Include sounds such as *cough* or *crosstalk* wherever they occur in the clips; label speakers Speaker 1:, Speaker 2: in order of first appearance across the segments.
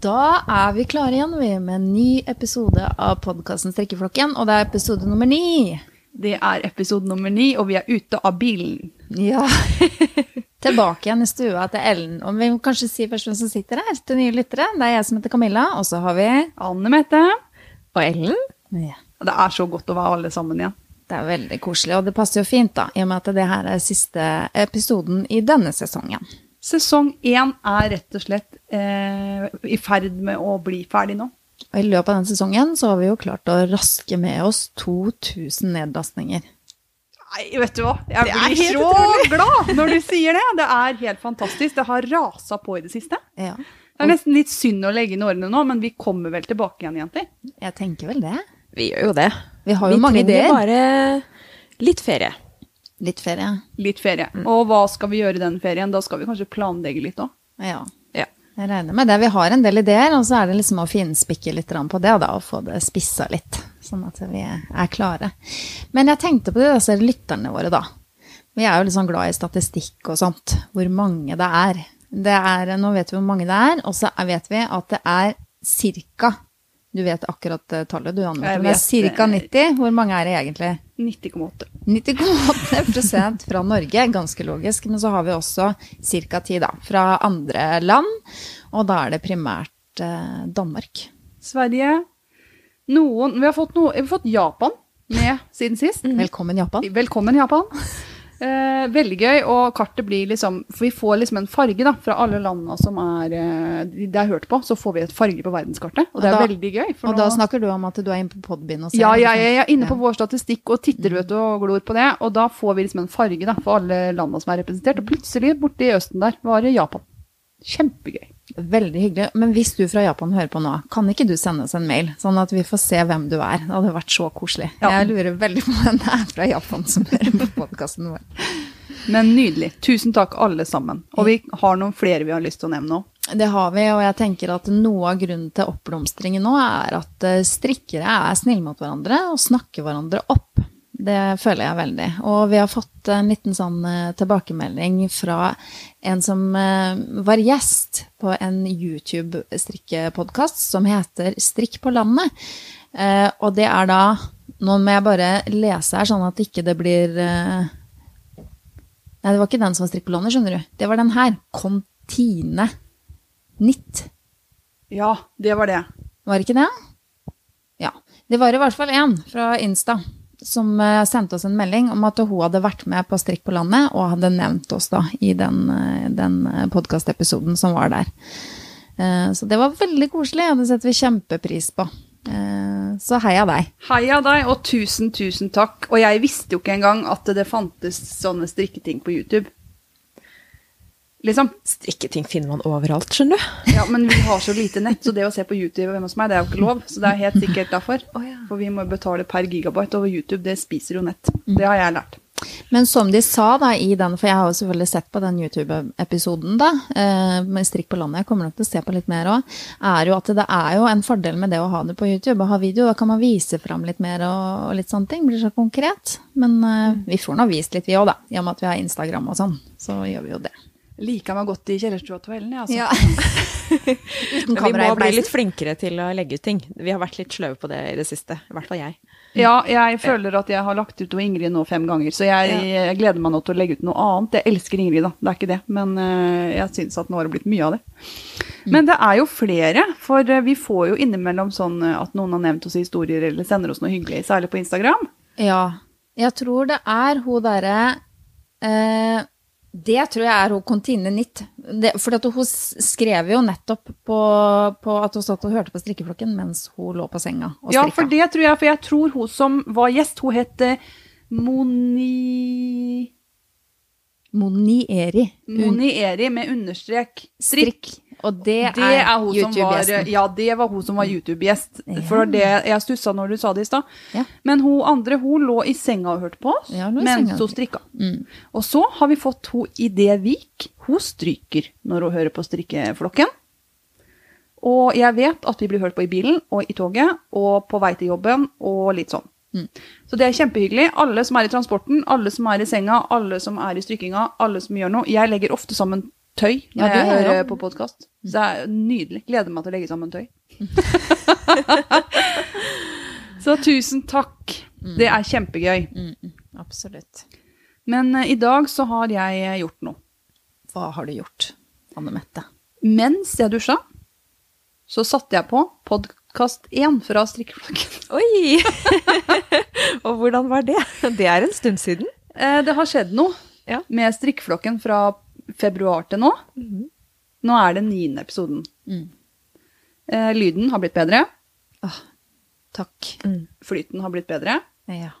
Speaker 1: Da er vi klare igjen vi, med en ny episode av podkasten Strekkeflokken. Og det er episode nummer ni.
Speaker 2: Det er episode nummer ni, og vi er ute av bilen.
Speaker 1: Ja. *laughs* Tilbake igjen i stua til Ellen. Og vi må kanskje si først hvem som sitter her. til nye lyttere. Det er jeg som heter Camilla, og så har vi
Speaker 2: Anne Mette.
Speaker 3: Og Ellen?
Speaker 1: ja.
Speaker 2: Og Det er så godt å være alle sammen igjen.
Speaker 1: Det er veldig koselig, og det passer jo fint, da, i og med at det her er siste episoden i denne sesongen.
Speaker 2: Sesong én er rett og slett eh, i ferd med å bli ferdig nå.
Speaker 1: Og i løpet av den sesongen så har vi jo klart å raske med oss 2000 nedlastninger.
Speaker 2: Nei, vet du hva? Jeg
Speaker 3: Det er
Speaker 2: blir
Speaker 3: helt
Speaker 2: så glad *laughs* når du sier det. Det er helt fantastisk. Det har rasa på i det siste.
Speaker 1: Ja.
Speaker 2: Det er nesten litt synd å legge inn årene nå, men vi kommer vel tilbake igjen, jenter.
Speaker 1: Jeg tenker vel det.
Speaker 3: Vi gjør jo det.
Speaker 1: Vi har jo mange ideer.
Speaker 3: Vi trenger bare litt ferie.
Speaker 1: Litt ferie.
Speaker 2: Litt ferie. Og hva skal vi gjøre den ferien? Da skal vi kanskje planlegge litt òg.
Speaker 1: Ja.
Speaker 3: Ja.
Speaker 1: Jeg regner med det. Vi har en del ideer, og så er det liksom å finspikke litt grann på det, da, og få det spissa litt, sånn at vi er klare. Men jeg tenkte på de disse lytterne våre, da. Vi er jo litt sånn glad i statistikk og sånt. Hvor mange det er. Det er nå vet vi hvor mange det er, og så er- vet vi at det er cirka Du vet akkurat eh, tallet du anmeldte,
Speaker 2: Jeg
Speaker 1: men
Speaker 2: vet,
Speaker 1: cirka
Speaker 2: eh,
Speaker 1: 90. Hvor mange er det egentlig?
Speaker 2: 90,8.
Speaker 1: 90,8 fra Norge, ganske logisk. Men så har vi også ca. 10 da, fra andre land. Og da er det primært eh, Danmark.
Speaker 2: Sverige. Noen Vi har fått, noe, vi har fått Japan med siden sist.
Speaker 1: Velkommen, Japan.
Speaker 2: Velkommen, Japan. Eh, veldig gøy, og kartet blir liksom For vi får liksom en farge da, fra alle landene som er eh, de- det er hørt på. Så får vi et farge på verdenskartet, og det er
Speaker 1: Og da-
Speaker 2: veldig gøy. for
Speaker 1: Og da
Speaker 2: nå-
Speaker 1: snakker du om at du er inne på Podbind og ser.
Speaker 2: ja,
Speaker 1: eller
Speaker 2: jeg, jeg er inne på
Speaker 1: Ja.
Speaker 2: vår statistikk og titter vet du, og glor på det. Og da får vi liksom en farge da, for alle landene som er representert. Og plutselig, borti østen der, var det Japan. Kjempegøy.
Speaker 1: Veldig hyggelig. Men hvis du fra Japan hører på nå, kan ikke du sende oss en mail, sånn at vi får se hvem du er? Det hadde vært så koselig.
Speaker 2: Ja.
Speaker 1: Jeg lurer veldig på hvem det er fra Japan som hører på podkasten vår.
Speaker 2: Men nydelig. Tusen takk, alle sammen. Og vi har noen flere vi har lyst til å nevne òg.
Speaker 1: Det har vi, og jeg tenker at noe av grunnen til oppblomstringen nå er at eh, strikkere er snille mot hverandre og snakker hverandre opp. Det føler jeg veldig. Og vi har fått en liten sånn eh, tilbakemelding fra en som eh, var gjest på en YouTube-strikkepodkast som heter Strikk på landet. Eh, Og det er da Nå må jeg bare lese her, sånn at ikke det blir eh, Nei, det var ikke den som var strikk på landet, skjønner du. Det var den her. Kontine. Nitt.
Speaker 2: Ja, det var det.
Speaker 1: Var det ikke det? Ja. Det var i hvert fall en fra Insta som eh, sendte oss en melding om at hun hadde vært med på Strikk på landet, og hadde nevnt oss da i den, eh, den eh, podkastepisoden som var der. Eh, Så det var veldig koselig, og det setter vi kjempepris på. Eh, Så heia deg.
Speaker 2: Heia deg, og tusen, tusen takk. Og jeg visste jo ikke engang at det fantes sånne strikketing på YouTube. Liksom.
Speaker 3: Strikketing finner man overalt, skjønner du.
Speaker 2: Ja, men vi har så lite nett, så det å se på YouTube hjemme hos meg, det er jo ikke lov. Så det er helt sikkert derfor. For vi må betale per gigabyte, og YouTube, det spiser jo nett. Det har jeg lært.
Speaker 1: Men som de sa da i den, for jeg har jo selvfølgelig sett på den YouTube-episoden da, eh, med Strikk på landet, jeg kommer nok til å se på litt mer òg, er jo at det er jo en fordel med det å ha det på YouTube og ha video. Da kan man vise fram litt mer og, og litt sånne ting. Blir så konkret. Men eh,
Speaker 3: Mm.
Speaker 1: vi får nå vist litt, vi òg, da. I og med at vi har Instagram og sånn. Så gjør vi jo det.
Speaker 2: Liker meg godt i kjellerstua til Ellen, jeg, altså.
Speaker 1: *laughs*
Speaker 3: *laughs*
Speaker 1: Uten
Speaker 3: Vi
Speaker 1: kamera i
Speaker 3: må bli
Speaker 1: bleisen.
Speaker 3: litt flinkere til å legge ut ting. Vi har vært litt sløve på det i det siste. I hvert fall jeg.
Speaker 2: Ja, jeg føler at jeg har lagt ut noe Ingrid nå fem ganger, så jeg, jeg gleder meg nå til å legge ut noe annet. Jeg elsker Ingrid, da, det er ikke det, men eh, jeg syns at nå har det blitt mye av det. Men det er jo flere, for eh, vi får jo innimellom sånn eh, at noen har nevnt oss historier eller sender oss noe hyggelig, særlig på Instagram.
Speaker 1: Ja. Jeg tror det er hun derre eh, Det tror jeg er hun Contine Nitt. Det, for at hun s- skrev jo nettopp på, på at hun satt og hørte på strikkeflokken mens hun lå på senga og
Speaker 2: Ja,
Speaker 1: strikka.
Speaker 2: for det tror jeg, for jeg tror hun som var gjest, hun het eh, Moni...
Speaker 1: Monieri. Un-
Speaker 2: Monieri med understrek strikk.
Speaker 1: Og det,
Speaker 2: Det er hun som var
Speaker 1: YouTube-gjesten.
Speaker 2: eh,
Speaker 1: Mm.
Speaker 2: Ja, det var hun som var YouTube-gjest. For det, jeg stussa når du sa det i stad.
Speaker 1: Ja.
Speaker 2: Men hun andre hun lå i senga og hørte på oss
Speaker 1: Ja, hun lå i senga Mm.
Speaker 2: mens
Speaker 1: og
Speaker 2: hun strikka. Og så har vi fått hun Idé Vik. Hun stryker når hun hører på strikkeflokken. Og jeg vet at vi blir hørt på i bilen og i toget og på vei til jobben og litt sånn. Så det er kjempehyggelig. Alle som er i transporten, alle som er i senga, alle som er i strykkinga, alle som gjør noe. Jeg legger ofte sammen tøy
Speaker 1: Ja,
Speaker 2: når
Speaker 1: det
Speaker 2: jeg
Speaker 1: gjør jeg
Speaker 2: hører
Speaker 1: også.
Speaker 2: på podkast. Så det er nydelig. Gleder meg til å legge sammen
Speaker 1: *laughs*
Speaker 2: tøy. så tusen takk.
Speaker 1: Mm.
Speaker 2: Det er kjempegøy.
Speaker 1: Absolutt.
Speaker 2: Men eh, i dag så har jeg eh, gjort noe.
Speaker 1: Hva har du gjort, Anne Mette?
Speaker 2: Mens jeg dusja, så satte jeg på podkast 1 fra strikkeflokken.
Speaker 3: Oi! *laughs* og hvordan var det? Det er en stund siden.
Speaker 2: Eh, Det har skjedd noe
Speaker 3: Ja.
Speaker 2: med strikkeflokken fra februar til nå. Nå er det niende episoden.
Speaker 1: Mm.
Speaker 2: Eh, Lyden har blitt bedre.
Speaker 1: Åh, takk.
Speaker 2: Flyten har blitt bedre.
Speaker 1: Ja.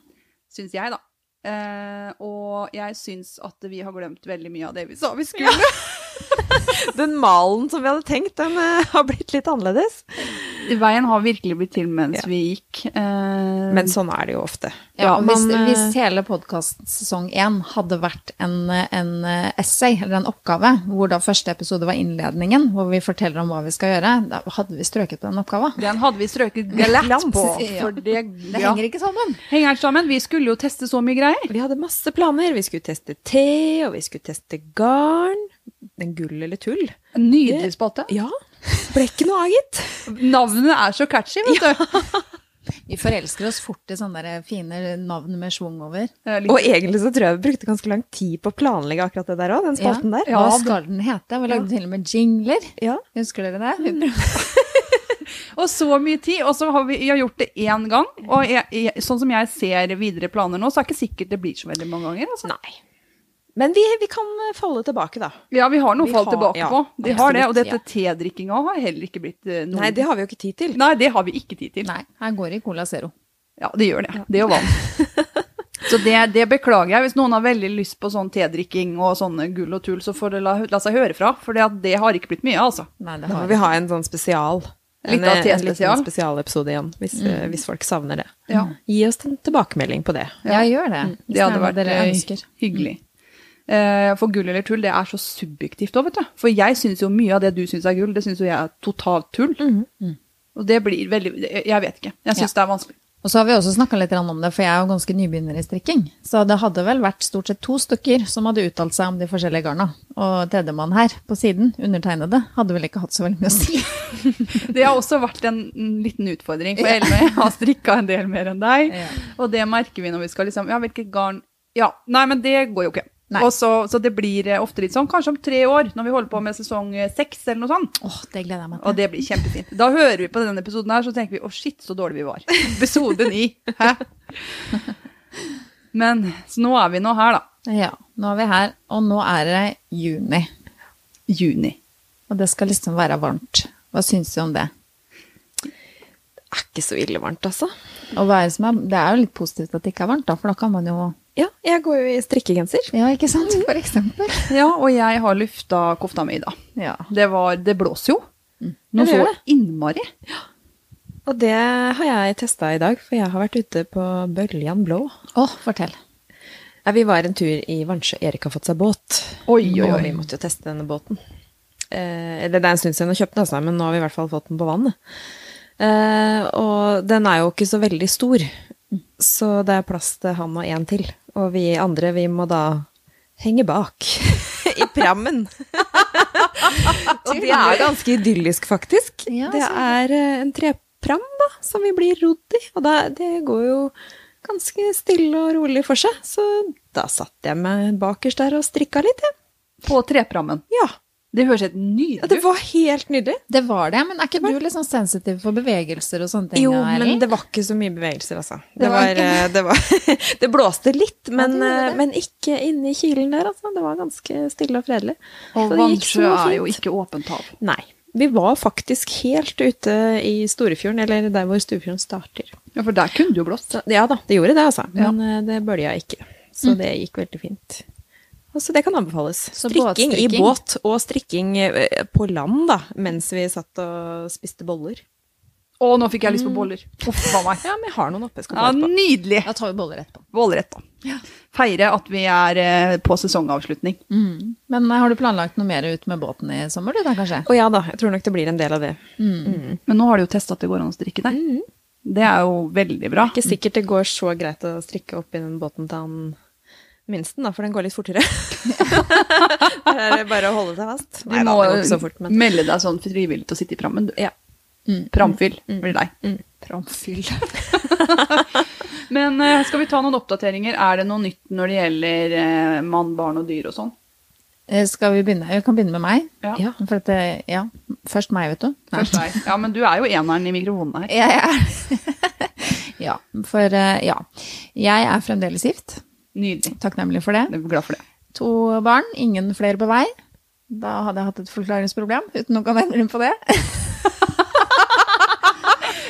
Speaker 2: Syns jeg, da. Eh, og jeg syns at vi har glemt veldig mye av det vi sa vi skulle. *laughs*
Speaker 3: Den malen som vi hadde tenkt, den eh, har blitt litt annerledes.
Speaker 2: Veien har virkelig blitt til mens
Speaker 3: Ja.
Speaker 2: vi gikk. Eh,
Speaker 3: Men sånn er det jo ofte.
Speaker 1: Ja,
Speaker 3: Man,
Speaker 1: hvis,
Speaker 3: eh,
Speaker 1: hvis hele podkast sesong én hadde vært en, en eh, essay, eller en oppgave, hvor da første episode var innledningen, hvor vi forteller om hva vi skal gjøre, da hadde vi strøket på den oppgaven.
Speaker 2: den hadde vi strøket glatt
Speaker 3: Glans,
Speaker 2: på.
Speaker 1: ja.
Speaker 2: For det,
Speaker 1: Det
Speaker 2: ja.
Speaker 1: henger ikke sammen.
Speaker 2: henger sammen. Vi skulle jo teste så mye greier.
Speaker 3: Vi hadde masse planer. Vi skulle teste te, og vi skulle teste garn. Den gull eller tull?
Speaker 2: Nydelig spalte.
Speaker 3: Ja. Ble ikke noe av, gitt.
Speaker 2: Navnet er så catchy, vet du.
Speaker 1: Vi forelsker oss fort i sånne der fine navn med schwung over.
Speaker 2: Eh, litt-
Speaker 3: Og egentlig så tror jeg vi brukte ganske lang tid på å planlegge akkurat det der òg, den spalten der.
Speaker 1: Hva
Speaker 2: altså.
Speaker 1: skal den hete? Vi lagde
Speaker 3: Ja.
Speaker 1: til og med jingler.
Speaker 3: Ja.
Speaker 1: Husker dere det? Vi prøvde-
Speaker 2: Og så mye tid, og så har vi jeg har gjort det én gang. Og jeg, jeg, sånn som jeg ser videre planer nå, så er det ikke sikkert det blir så veldig mange ganger. Altså.
Speaker 3: Nei. Men vi, vi kan eh, falle tilbake, da.
Speaker 2: Ja, vi har noe
Speaker 3: Vi
Speaker 2: fall
Speaker 3: har-
Speaker 2: tilbake
Speaker 3: ja,
Speaker 2: på. Vi har det, Og
Speaker 1: absolutt,
Speaker 2: dette tedrikkinga har heller ikke blitt eh, noe
Speaker 3: Nei, det har vi jo ikke tid til.
Speaker 2: Nei, det har vi ikke tid til.
Speaker 1: Nei, her går det i Cola Zero.
Speaker 2: Ja, det gjør det. Det er jo vann.
Speaker 3: *laughs*
Speaker 2: Så det, det beklager jeg. Hvis noen har veldig lyst på sånn tedrikking og sånne gull og tull, så får det la, la seg høre fra. For det, at det har ikke blitt mye, altså.
Speaker 1: Nei, det
Speaker 3: Da
Speaker 1: har
Speaker 3: må vi ha en sånn spesial.
Speaker 2: Litt
Speaker 3: en,
Speaker 2: av
Speaker 3: eh, en
Speaker 2: T-spesial.
Speaker 3: liten spesialepisode igjen, hvis, eh, hvis folk savner det.
Speaker 2: Ja.
Speaker 3: Gi oss en tilbakemelding på det.
Speaker 1: Ja, gjør det. Hvis
Speaker 2: Det hadde
Speaker 1: er hva
Speaker 2: vært
Speaker 1: dere
Speaker 2: eh,
Speaker 1: ønsker.
Speaker 2: hyggelig. Eh, For gull eller tull, det er så subjektivt òg, vet du. For jeg syns jo mye av det du syns er gull, det syns jo jeg er totalt tull.
Speaker 1: Mm,
Speaker 2: Og det blir veldig Jeg vet ikke. Jeg syns det er vanskelig.
Speaker 1: Og så har vi også snakka litt grann om det, for jeg er jo ganske nybegynner i strikking. Så det hadde vel vært stort sett to stykker som hadde uttalt seg om de forskjellige garna. Og tredjemann her, på siden, undertegnede, hadde vel ikke hatt så veldig mye å si.
Speaker 2: Det har også vært en mm, liten utfordring, for Ellen og jeg har strikka en del mer enn deg.
Speaker 1: Ja.
Speaker 2: Og det merker vi når vi skal liksom Ja, hvilket garn Ja, nei, men det går jo ikke.
Speaker 1: Nei.
Speaker 2: Og så, så det blir eh, ofte litt sånn, kanskje om tre år, når vi holder på med sesong eh, seks eller noe sånt.
Speaker 1: *laughs* Åh, det gleder jeg meg
Speaker 2: Og
Speaker 1: til.
Speaker 2: det blir kjempefint. Da hører vi på denne episoden her, så tenker vi å shit, så dårlig vi var. Episode ni. Hæ? Men så nå er vi nå her, da.
Speaker 1: Ja, nå er vi her, og nå er det juni.
Speaker 2: Juni.
Speaker 1: Og det skal liksom være varmt. Hva syns du om det?
Speaker 3: Det er ikke så ille varmt, altså.
Speaker 1: Og hva er det, som er, det er jo litt positivt at det ikke er varmt, da, for da kan man jo Mm.
Speaker 3: Ja, jeg går jo i strikkegenser.
Speaker 1: Ja, ikke sant? For eksempel.
Speaker 2: Ja, og jeg har lufta kofta mi, da.
Speaker 1: Ja.
Speaker 2: Det var Det blåser jo. Nå
Speaker 3: Ja, det
Speaker 2: så
Speaker 3: gjør det.
Speaker 2: innmari.
Speaker 3: Og det har jeg testa i dag, for jeg har vært ute på Bøljan blå.
Speaker 1: Å, fortell.
Speaker 3: Nei, Vi var en tur i Vansjø. Erik har fått seg båt.
Speaker 2: Oi, oi,
Speaker 3: Og
Speaker 2: oi.
Speaker 3: vi måtte jo teste denne båten. Eh, eller det er en stund siden hun kjøpte den, altså, men nå har vi i hvert fall fått den på vannet. Eh, og den er jo ikke så veldig stor, så det er plass til han og en til. Og vi andre, vi må da henge bak *laughs* i prammen. og det er ganske idyllisk, faktisk.
Speaker 1: Ja,
Speaker 3: det er eh, en trepram da, som vi blir rodd i, og da, det går jo ganske stille og rolig for seg. Så da satt jeg meg bakerst der og strikka litt, jeg.
Speaker 2: På treprammen.
Speaker 3: Ja.
Speaker 2: Det høres helt
Speaker 3: Ja,
Speaker 2: nydelig
Speaker 3: det
Speaker 2: ut.
Speaker 3: var helt nydelig.
Speaker 1: Det var det, men er ikke du litt sånn sensitiv for bevegelser og sånne ting?
Speaker 3: Jo,
Speaker 1: Erlend?
Speaker 3: men det var ikke så mye bevegelser, altså. Det,
Speaker 1: Det var
Speaker 3: var, eh, det, var, *laughs* det blåste litt, men,
Speaker 1: det gjorde det.
Speaker 3: eh, men ikke inni kilen der, altså. Det var ganske stille og fredelig.
Speaker 2: Og
Speaker 3: Så det gikk
Speaker 2: Vansjø
Speaker 3: så
Speaker 2: er jo
Speaker 3: fint.
Speaker 2: ikke åpent hav.
Speaker 3: Nei. Vi var faktisk helt ute i Storefjorden, eller der hvor Storefjorden starter.
Speaker 2: Ja, for der kunne det jo blåst.
Speaker 3: Så, ja da, det gjorde det, altså.
Speaker 2: Ja.
Speaker 3: Men eh, det bølja ikke. Så det gikk veldig fint. Og Så det kan anbefales.
Speaker 1: Så
Speaker 3: strikking i
Speaker 1: båtstrikking.
Speaker 3: båt, og strikking eh, på land, da, mens vi satt og spiste boller.
Speaker 2: Å, nå fikk jeg lyst på boller. Uff a meg.
Speaker 3: Ja, men jeg har noen oppe. jeg Skal
Speaker 2: Mm. Ja,
Speaker 3: ta etterpå.
Speaker 2: nydelig.
Speaker 1: Da tar vi boller etterpå.
Speaker 2: Vålrett, da. Feire at vi er eh, på sesongavslutning.
Speaker 1: Mm. Men eh, har du planlagt noe mer ut med båten i sommer, du da kanskje?
Speaker 3: Å ja da, jeg tror nok det blir en del av det.
Speaker 2: Men nå har de jo testa at det går an å strikke der. Det er jo veldig bra.
Speaker 3: Ikke sikkert det går så greit å strikke opp i den båten til han minsten, da, for den går litt fortere. *laughs* Der er det bare å holde seg fast.
Speaker 2: Du
Speaker 3: Nei da,
Speaker 2: må
Speaker 3: det går ikke så fort, men
Speaker 2: melde deg sånn frivillig til å sitte i prammen, du.
Speaker 3: ja.
Speaker 2: Pramfyll blir deg.
Speaker 3: Mm.
Speaker 2: Pramfyll. Men eh, skal vi ta noen oppdateringer? Er det noe nytt når det gjelder eh, mann, barn og dyr og sånn?
Speaker 1: *laughs* Eh, Skal vi begynne? Vi kan begynne med meg.
Speaker 2: Ja.
Speaker 3: Ja.
Speaker 1: For at, eh, ja, først meg, vet du. Nei.
Speaker 2: Først deg. Ja, men du er jo eneren i mikrofonen her.
Speaker 1: *laughs* Jeg er *laughs* Ja. For eh, ja. Jeg er fremdeles gift.
Speaker 2: Nydelig.
Speaker 1: Takknemlig for det.
Speaker 2: Jeg er glad for det.
Speaker 1: To barn, ingen flere på vei. Da hadde jeg hatt et forklaringsproblem, uten noen endring på det.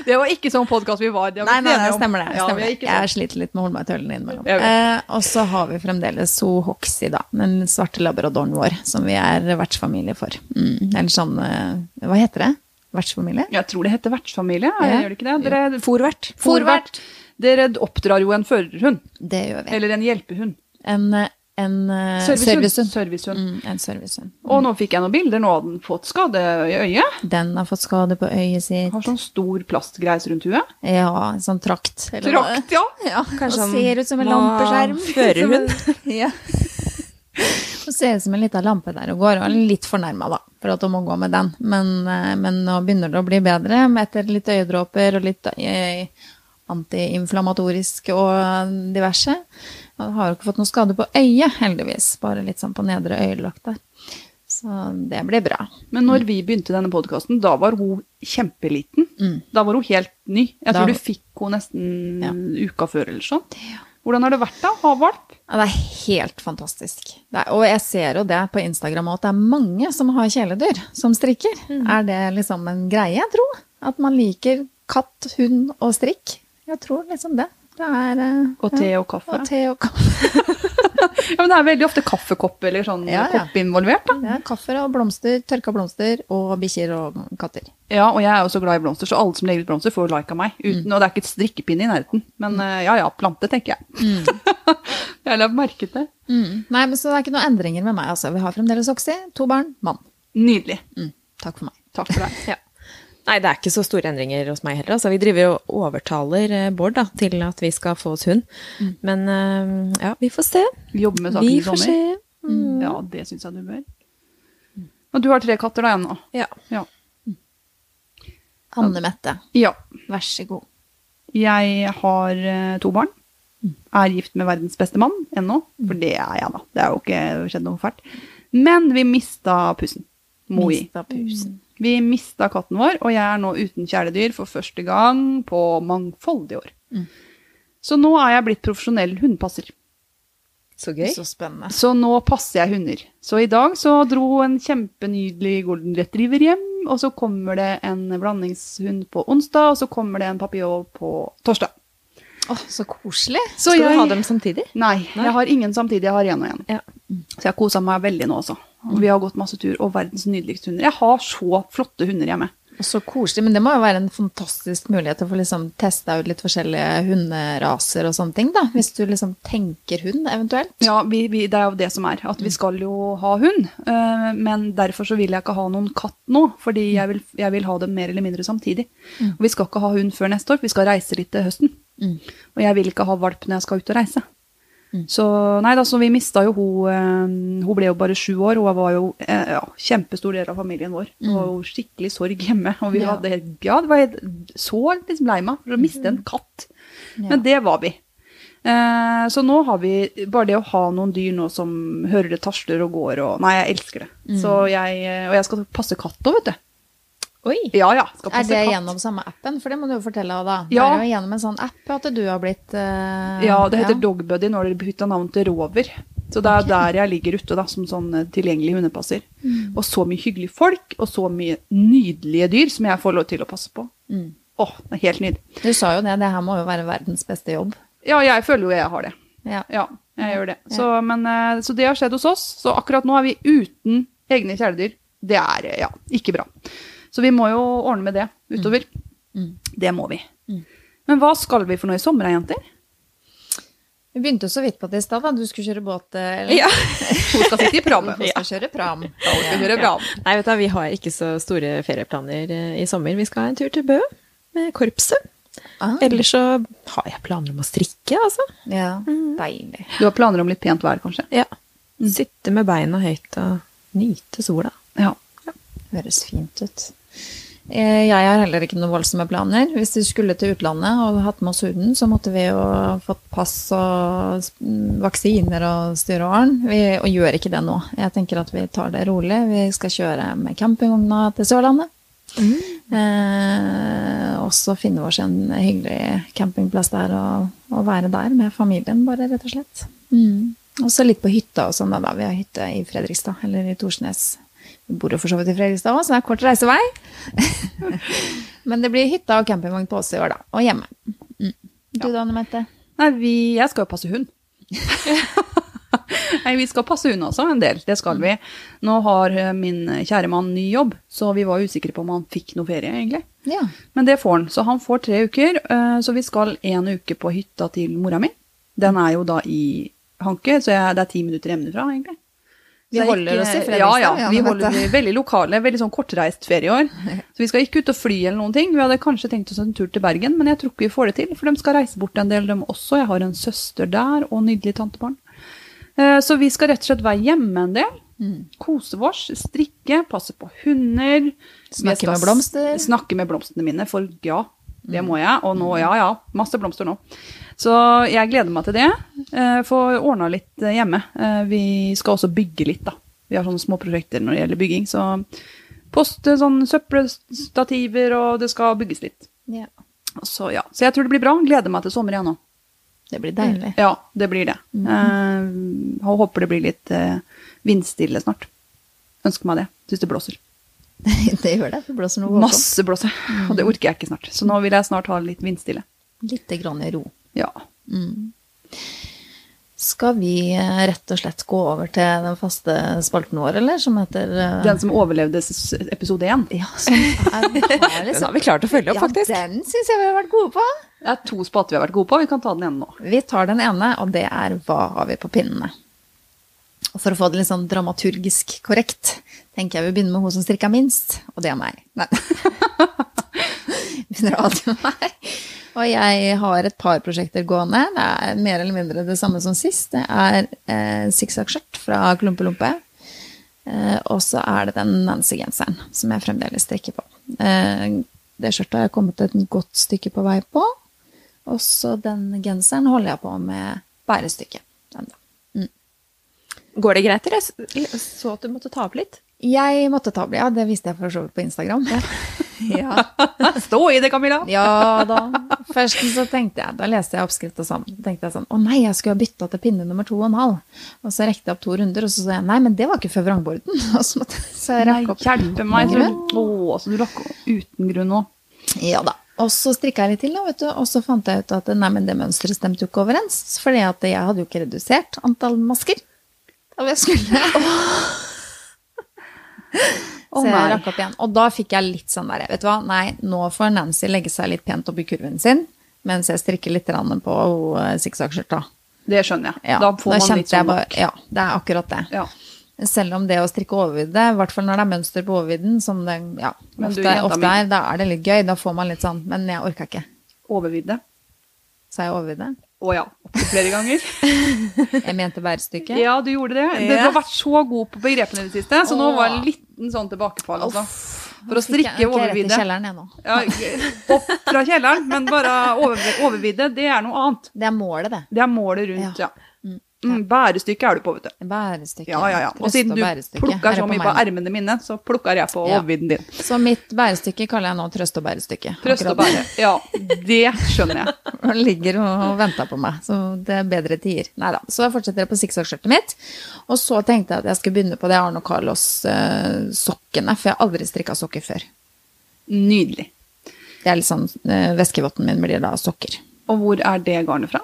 Speaker 2: Det var ikke sånn podkast vi var. Det
Speaker 1: Nei,
Speaker 2: var
Speaker 1: nei, det stemmer det.
Speaker 2: Ja,
Speaker 1: Stemmer
Speaker 2: vi er
Speaker 1: det.
Speaker 2: ikke
Speaker 1: Jeg
Speaker 2: sånn.
Speaker 1: sliter litt med å holde meg i tøylene innimellom.
Speaker 2: Jeg
Speaker 1: Eh, og så har vi fremdeles Zoo Hoxie, da. Den svarte labradoren vår, som vi er vertsfamilie for. Mm, eller sånn eh, Hva heter det? Vertsfamilie?
Speaker 2: Jeg tror det heter vertsfamilie,
Speaker 1: Ja.
Speaker 2: gjør det ikke det? Dere,
Speaker 3: Forvert.
Speaker 2: Forvert. Dere oppdrar jo en førerhund.
Speaker 1: Det gjør vi.
Speaker 2: Eller en hjelpehund.
Speaker 1: En, eh, en eh,
Speaker 2: Servicehund.
Speaker 1: servicehund.
Speaker 2: Servicehund.
Speaker 1: Mm, en servicehund.
Speaker 2: Og nå fikk jeg noen bilder. Nå hadde den fått skade i øyet.
Speaker 1: Den har fått skade på øyet sitt.
Speaker 2: Har sånn stor plastgreis rundt huet.
Speaker 1: Ja, en sånn trakt. eller noe.
Speaker 2: Trakt, ja.
Speaker 1: Ja,
Speaker 3: Kanskje
Speaker 1: og
Speaker 3: han
Speaker 1: ser ut som en
Speaker 3: må
Speaker 1: lampeskjerm.
Speaker 3: *laughs* føre
Speaker 1: Som en- *laughs* ja. Og ser ut som en liten lampe der og går, og er litt fornærma, da, for at hun må gå med den. Men, eh, men nå begynner det å bli bedre, med etter litt øyedråper og litt eh, antiinflamatorisk og diverse. Og har jo ikke fått noe skade på øyet, heldigvis. Bare litt sånn på nedre øyelokk der. Så det blir bra.
Speaker 2: Men når vi begynte denne podkasten, da var hun kjempeliten. Da var hun helt ny. Jeg
Speaker 1: Mm. Da-
Speaker 2: tror du fikk henne nesten uka før eller sånn.
Speaker 1: Ja.
Speaker 2: Hvordan har det vært da? å Ha valp?
Speaker 1: Ja, det er helt fantastisk. Det er, og jeg ser jo det på Instagram også, at det er mange som har kjæledyr som strikker. Er det liksom en greie, jeg tror? At man liker katt, hund og strikk? Jeg tror liksom det. det er, eh,
Speaker 2: Og te
Speaker 1: ja.
Speaker 2: og kaffe?
Speaker 1: Og te og kaffe.
Speaker 2: Ja, men det er veldig ofte kaffekopp eller sånn
Speaker 1: Ja, ja.
Speaker 2: kopp involvert. da.
Speaker 1: Ja, kaffe og blomster, tørka blomster og bikkjer og katter.
Speaker 2: Ja, og jeg er jo så glad i blomster, så alle som legger ut blomster, får like av meg. Uten,
Speaker 1: Mm.
Speaker 2: Og det er ikke et strikkepinne i nærheten. Men eh, ja ja, plante, tenker jeg. *laughs* jeg la merke til det.
Speaker 1: Mm. Nei, men Så det er ikke noen endringer med meg. altså. Vi har fremdeles Oxy, to barn, mann.
Speaker 2: Nydelig.
Speaker 1: Mm. Takk for meg.
Speaker 2: Takk for deg.
Speaker 3: Ja. Nei, det er ikke så store endringer hos meg heller. Altså, vi driver og overtaler eh, Bård da, til at vi skal få oss hund. Men eh, ja, vi får se.
Speaker 2: Vi jobber Mm. med saken
Speaker 3: Vi
Speaker 2: i
Speaker 3: får
Speaker 2: sommer. Mm.
Speaker 3: se.
Speaker 2: Ja, det syns jeg du bør. Og du har tre katter da ennå?
Speaker 3: Ja.
Speaker 2: Ja.
Speaker 1: Anne Mette,
Speaker 2: ja.
Speaker 1: vær så god.
Speaker 2: Jeg har eh, to barn. Er gift med verdens beste mann ennå. For det er jeg, da. Det er jo ikke skjedd noe fælt. Men vi mista pussen. Moi.
Speaker 1: Mista pusen.
Speaker 2: Vi mista katten vår, og jeg er nå uten kjæledyr for første gang på mangfoldige år.
Speaker 1: Mm.
Speaker 2: Så nå er jeg blitt profesjonell hundepasser.
Speaker 3: Så gøy.
Speaker 1: Så spennende.
Speaker 2: Så nå passer jeg hunder. Så i dag så dro en kjempenydelig golden retriever hjem, og så kommer det en blandingshund på onsdag, og så kommer det en papillon på torsdag.
Speaker 1: Åh, Så koselig.
Speaker 2: Så
Speaker 3: skal
Speaker 2: jeg-
Speaker 3: du ha dem samtidig?
Speaker 2: Nei, jeg har ingen samtidig. Jeg har én og én.
Speaker 3: Ja.
Speaker 2: Så jeg kosa meg veldig nå også. Og vi har gått masse tur, og verdens nydeligste hunder. Jeg har så flotte hunder hjemme.
Speaker 1: Og Så koselig, men det må jo være en fantastisk mulighet til å få liksom testa ut litt forskjellige hunderaser og sånne ting, da. Hvis du liksom tenker hund, eventuelt.
Speaker 2: Ja, vi, vi, Det er jo det som er. At vi skal jo ha hund. eh, men derfor så vil jeg ikke ha noen katt nå. Fordi jeg vil, jeg vil ha dem mer eller mindre samtidig. Og vi skal ikke ha hund før neste år. for Vi skal reise litt til høsten.
Speaker 1: Mm.
Speaker 2: Og jeg vil ikke ha valp når jeg skal ut og reise. Så nei da, så vi mista jo hun eh, Hun ble jo bare sju år. Hun var jo eh, ja, kjempestor del av familien vår. Det var jo skikkelig sorg hjemme. Og vi
Speaker 1: Mm. Ja.
Speaker 2: hadde helt Ja, det var helt så liksom lei meg for å miste
Speaker 1: Mm.
Speaker 2: en katt. Men det var vi. Eh, så nå har vi bare det å ha noen dyr nå som hører det tasler og går og Nei, jeg elsker det.
Speaker 1: Mm.
Speaker 2: Så jeg, eh, og jeg skal passe katt òg, vet du.
Speaker 3: Oi.
Speaker 2: Ja ja. Skal
Speaker 1: Er
Speaker 2: passe
Speaker 1: det
Speaker 2: katt.
Speaker 1: gjennom samme appen? For det må du jo fortelle, da.
Speaker 2: Ja.
Speaker 1: Det er jo gjennom en sånn app at du har blitt eh,
Speaker 2: Ja, det heter Dogbuddy når dere bytta navn til Rover. Så det er der jeg ligger ute, da, som sånn eh, tilgjengelig hundepasser. Og så mye hyggelige folk, og så mye nydelige dyr som jeg får lov til å passe på. Åh, det er helt nydelig.
Speaker 1: Du sa jo det, det her må jo være verdens beste jobb.
Speaker 2: Ja, jeg føler jo jeg har det.
Speaker 1: Ja.
Speaker 2: Ja, jeg gjør det. Så, men, eh, så det har skjedd hos oss. Så akkurat nå er vi uten egne kjæledyr. Det er eh, ja, ikke bra. Så vi må jo ordne med det utover.
Speaker 1: Mm.
Speaker 2: Det må vi. Men hva skal vi for noe i sommer, da, jenter?
Speaker 1: Vi begynte jo så vidt på det i stad, da. Du skulle kjøre båt, eh, eller?
Speaker 3: Ja.
Speaker 2: Hun skal sitte i prammen.
Speaker 1: Du skal kjøre pram.
Speaker 2: Hun skal kjøre pram.
Speaker 3: Nei, vet du, hva, vi har ikke så store ferieplaner eh, i sommer. Vi skal ha en tur til Bø med korpset.
Speaker 1: Ah.
Speaker 3: Ellers så har jeg planer om å strikke, altså.
Speaker 1: Ja,
Speaker 2: Mm.
Speaker 1: deilig.
Speaker 2: Du har planer om litt pent vær, kanskje?
Speaker 3: Ja.
Speaker 2: Mm.
Speaker 3: Sitte med beina høyt og nyte sola.
Speaker 2: Ja.
Speaker 1: Høres fint ut. Eh, Jeg har heller ikke noen voldsomme planer. Hvis vi skulle til utlandet og hatt med oss huden, så måtte vi jo fått pass og mm, vaksiner og styre og arn. Vi og gjør ikke det nå. Jeg tenker at vi tar det rolig. Vi skal kjøre med campingvogna til Sørlandet. Eh, og så finne oss en hyggelig campingplass der og, og være der med familien, bare, rett og slett. Mm. Og så litt på hytta og sånn, da, da. Vi har hytte i Fredrikstad, eller i Torsnes. Vi bor jo for så vidt i Fredrikstad òg, så det er kort reisevei. *laughs* Men det blir hytta og campingvogn på oss i år, da. Og hjemme. Mm. Du da, Anne Mette?
Speaker 2: Nei, vi, jeg skal jo passe hund. Nei, vi skal passe hund også, en del. Det skal vi. Nå har eh, min kjære mann ny jobb, så vi var usikre på om han fikk noe ferie, egentlig.
Speaker 1: Ja.
Speaker 2: Men det får han. Så han får tre uker. eh, Så vi skal en uke på hytta til mora mi. Den er jo da i Hanke, så jeg, det er ti minutter hjemmefra, egentlig.
Speaker 1: Vi
Speaker 2: Så det er
Speaker 1: holder oss i Fredrikstad,
Speaker 2: Ja, ja.
Speaker 1: ja,
Speaker 2: Vi
Speaker 1: nå vet
Speaker 2: holder vi er *laughs* veldig lokale. Veldig sånn kortreist ferie i år. Så vi skal ikke ut og fly eller noen ting. Vi hadde kanskje tenkt oss en tur til Bergen, men jeg tror ikke vi får det til, for de skal reise bort en del, de også. Jeg har en søster der, og nydelig tantebarn. Eh, Så vi skal rett og slett være hjemme en del.
Speaker 1: Mm.
Speaker 2: Kose oss, strikke, passe på hunder.
Speaker 1: Snakke
Speaker 2: Vi skal
Speaker 1: med blomster. Mm.
Speaker 2: s- Snakke med blomstene mine, for ja, det må jeg. Og nå, ja ja, masse blomster nå. Så jeg gleder meg til det. Eh, Få ordna litt eh, hjemme. Eh, Vi skal også bygge litt, da. Vi har sånne små prosjekter når det gjelder bygging. Så poste sånn søppelstativer, og det skal bygges litt.
Speaker 1: ja.
Speaker 2: Så ja. Så jeg tror det blir bra. Gleder meg til sommer igjen nå.
Speaker 1: Det blir deilig.
Speaker 2: Ja, det blir det.
Speaker 1: Mm.
Speaker 2: Eh, og håper det blir litt eh, vindstille snart. Ønsker meg det. Syns det blåser.
Speaker 1: *laughs* det gjør det. Det blåser noe voldsomt.
Speaker 2: Masse blåser. *laughs* Og det orker jeg ikke snart. Så nå vil jeg snart ha litt vindstille.
Speaker 1: Lite grann i ro. Mm.
Speaker 2: Ja.
Speaker 1: Skal vi eh, rett og slett gå over til den faste spalten vår, eller? Som heter eh,
Speaker 2: Den som overlevde s- episode én.
Speaker 1: *laughs* Ja, som er, er
Speaker 3: Den
Speaker 1: liksom
Speaker 3: har vi klart å følge opp, faktisk.
Speaker 1: Ja, den syns jeg vi har vært gode på.
Speaker 2: Det er to spater vi har vært gode på. Vi kan ta den ene nå.
Speaker 1: Vi tar den ene, og det er hva har vi på pinnene? Og for å få det litt sånn dramaturgisk korrekt, tenker jeg vi begynner med hun som strikka minst, og det er meg. Nei. *laughs* begynner alltid med meg. Og jeg har et par prosjekter gående. Det er mer eller mindre det samme som sist. Det er eh, sikksakk-skjørt fra Klumpelumpe. Eh, og så er det den Nancy-genseren som jeg fremdeles strikker på. Eh, det skjørtet har jeg kommet et godt stykke på vei på. Og så den genseren holder jeg på med bærestykket. Den da.
Speaker 3: Går det greit, eller? Jeg s- så at du måtte ta opp litt.
Speaker 1: Jeg måtte ta bli, ja, det visste jeg for så vidt på Instagram. Ja.
Speaker 2: *laughs* Stå i det, Camilla!
Speaker 1: *laughs* ja da. Først så tenkte jeg, da leste jeg oppskrift og sånn, tenkte jeg sånn, å nei, jeg skulle ha bytta til pinne nummer to og en halv. Og så rekte jeg opp to runder, og så sa jeg, nei, men det var ikke før vrangborden. *laughs* Og så måtte så jeg
Speaker 2: Nei,
Speaker 1: rakk opp.
Speaker 2: hjelpe meg. Så,
Speaker 1: Grunn.
Speaker 2: å, så du rakk uten grunn nå.
Speaker 1: Ja da. Og så strikka jeg litt til, da, vet du, og så fant jeg ut at nei, men det mønsteret stemte jo ikke overens. Fordi at jeg hadde jo ikke redusert antall masker. Da jeg skulle.
Speaker 2: Å,
Speaker 1: *laughs* så jeg
Speaker 2: nei.
Speaker 1: rakk opp igjen. Og da fikk jeg litt sånn der, vet du hva, nei, nå får Nancy legge seg litt pent opp i kurven sin, mens jeg strikker litt grann på eh, sikksakskjørta.
Speaker 2: Det skjønner jeg.
Speaker 1: Ja,
Speaker 2: Da får man
Speaker 1: kjente
Speaker 2: litt sånn
Speaker 1: jeg bare, Ja, det er akkurat det.
Speaker 2: Ja.
Speaker 1: Selv om det å strikke overvidde, i hvert fall når det er mønster på overvidden, som det ja,
Speaker 2: Men du,
Speaker 1: ofte,
Speaker 2: jenta
Speaker 1: ofte
Speaker 2: mi-
Speaker 1: er, da er det litt gøy, da får man litt sånn, men jeg orka ikke.
Speaker 2: overvidde.
Speaker 1: Sa jeg overvidde?
Speaker 2: Å ja. Opptil flere
Speaker 3: *laughs*
Speaker 2: ganger.
Speaker 1: Jeg mente bærestykket.
Speaker 2: *laughs* Ja, du gjorde det. Du har vært så god på begrepene i det siste, så nå
Speaker 1: Åh.
Speaker 2: var det en liten sånn tilbakefall. Altså. For å
Speaker 1: Fikk jeg-
Speaker 2: strikke
Speaker 1: ok, rett i
Speaker 2: overvidde
Speaker 1: kjelleren jeg nå.
Speaker 2: ja, Opp fra kjelleren, men bare over- overvidde, det er noe annet.
Speaker 1: Det er målet, det.
Speaker 2: Det er målet rundt, ja. Mm, Bærestykket er du på, vet du.
Speaker 1: Bærestykket.
Speaker 2: Ja, ja, ja. Og
Speaker 1: Trøst
Speaker 2: siden du
Speaker 1: bærestykket. Her
Speaker 2: plukker
Speaker 1: er
Speaker 2: så
Speaker 1: på
Speaker 2: mye
Speaker 1: meg
Speaker 2: på
Speaker 1: nå.
Speaker 2: ermene mine, så plukker jeg på
Speaker 1: Ja.
Speaker 2: overvidden din.
Speaker 1: Så mitt bærestykke kaller jeg nå trøst og bærestykke.
Speaker 2: Trøst og bære. Ja, det skjønner jeg.
Speaker 1: *laughs* Han ligger og venter på meg, så det er bedre tider. Neida, Så jeg fortsetter på sikksakkskjørtet mitt. Og så tenkte jeg at jeg skulle begynne på det Arne og Carlos-sokkene, for jeg har aldri strikka sokker før.
Speaker 2: Nydelig.
Speaker 1: Det er litt sånn eh, Væskevotten min blir da sokker.
Speaker 2: Og hvor er det garnet fra?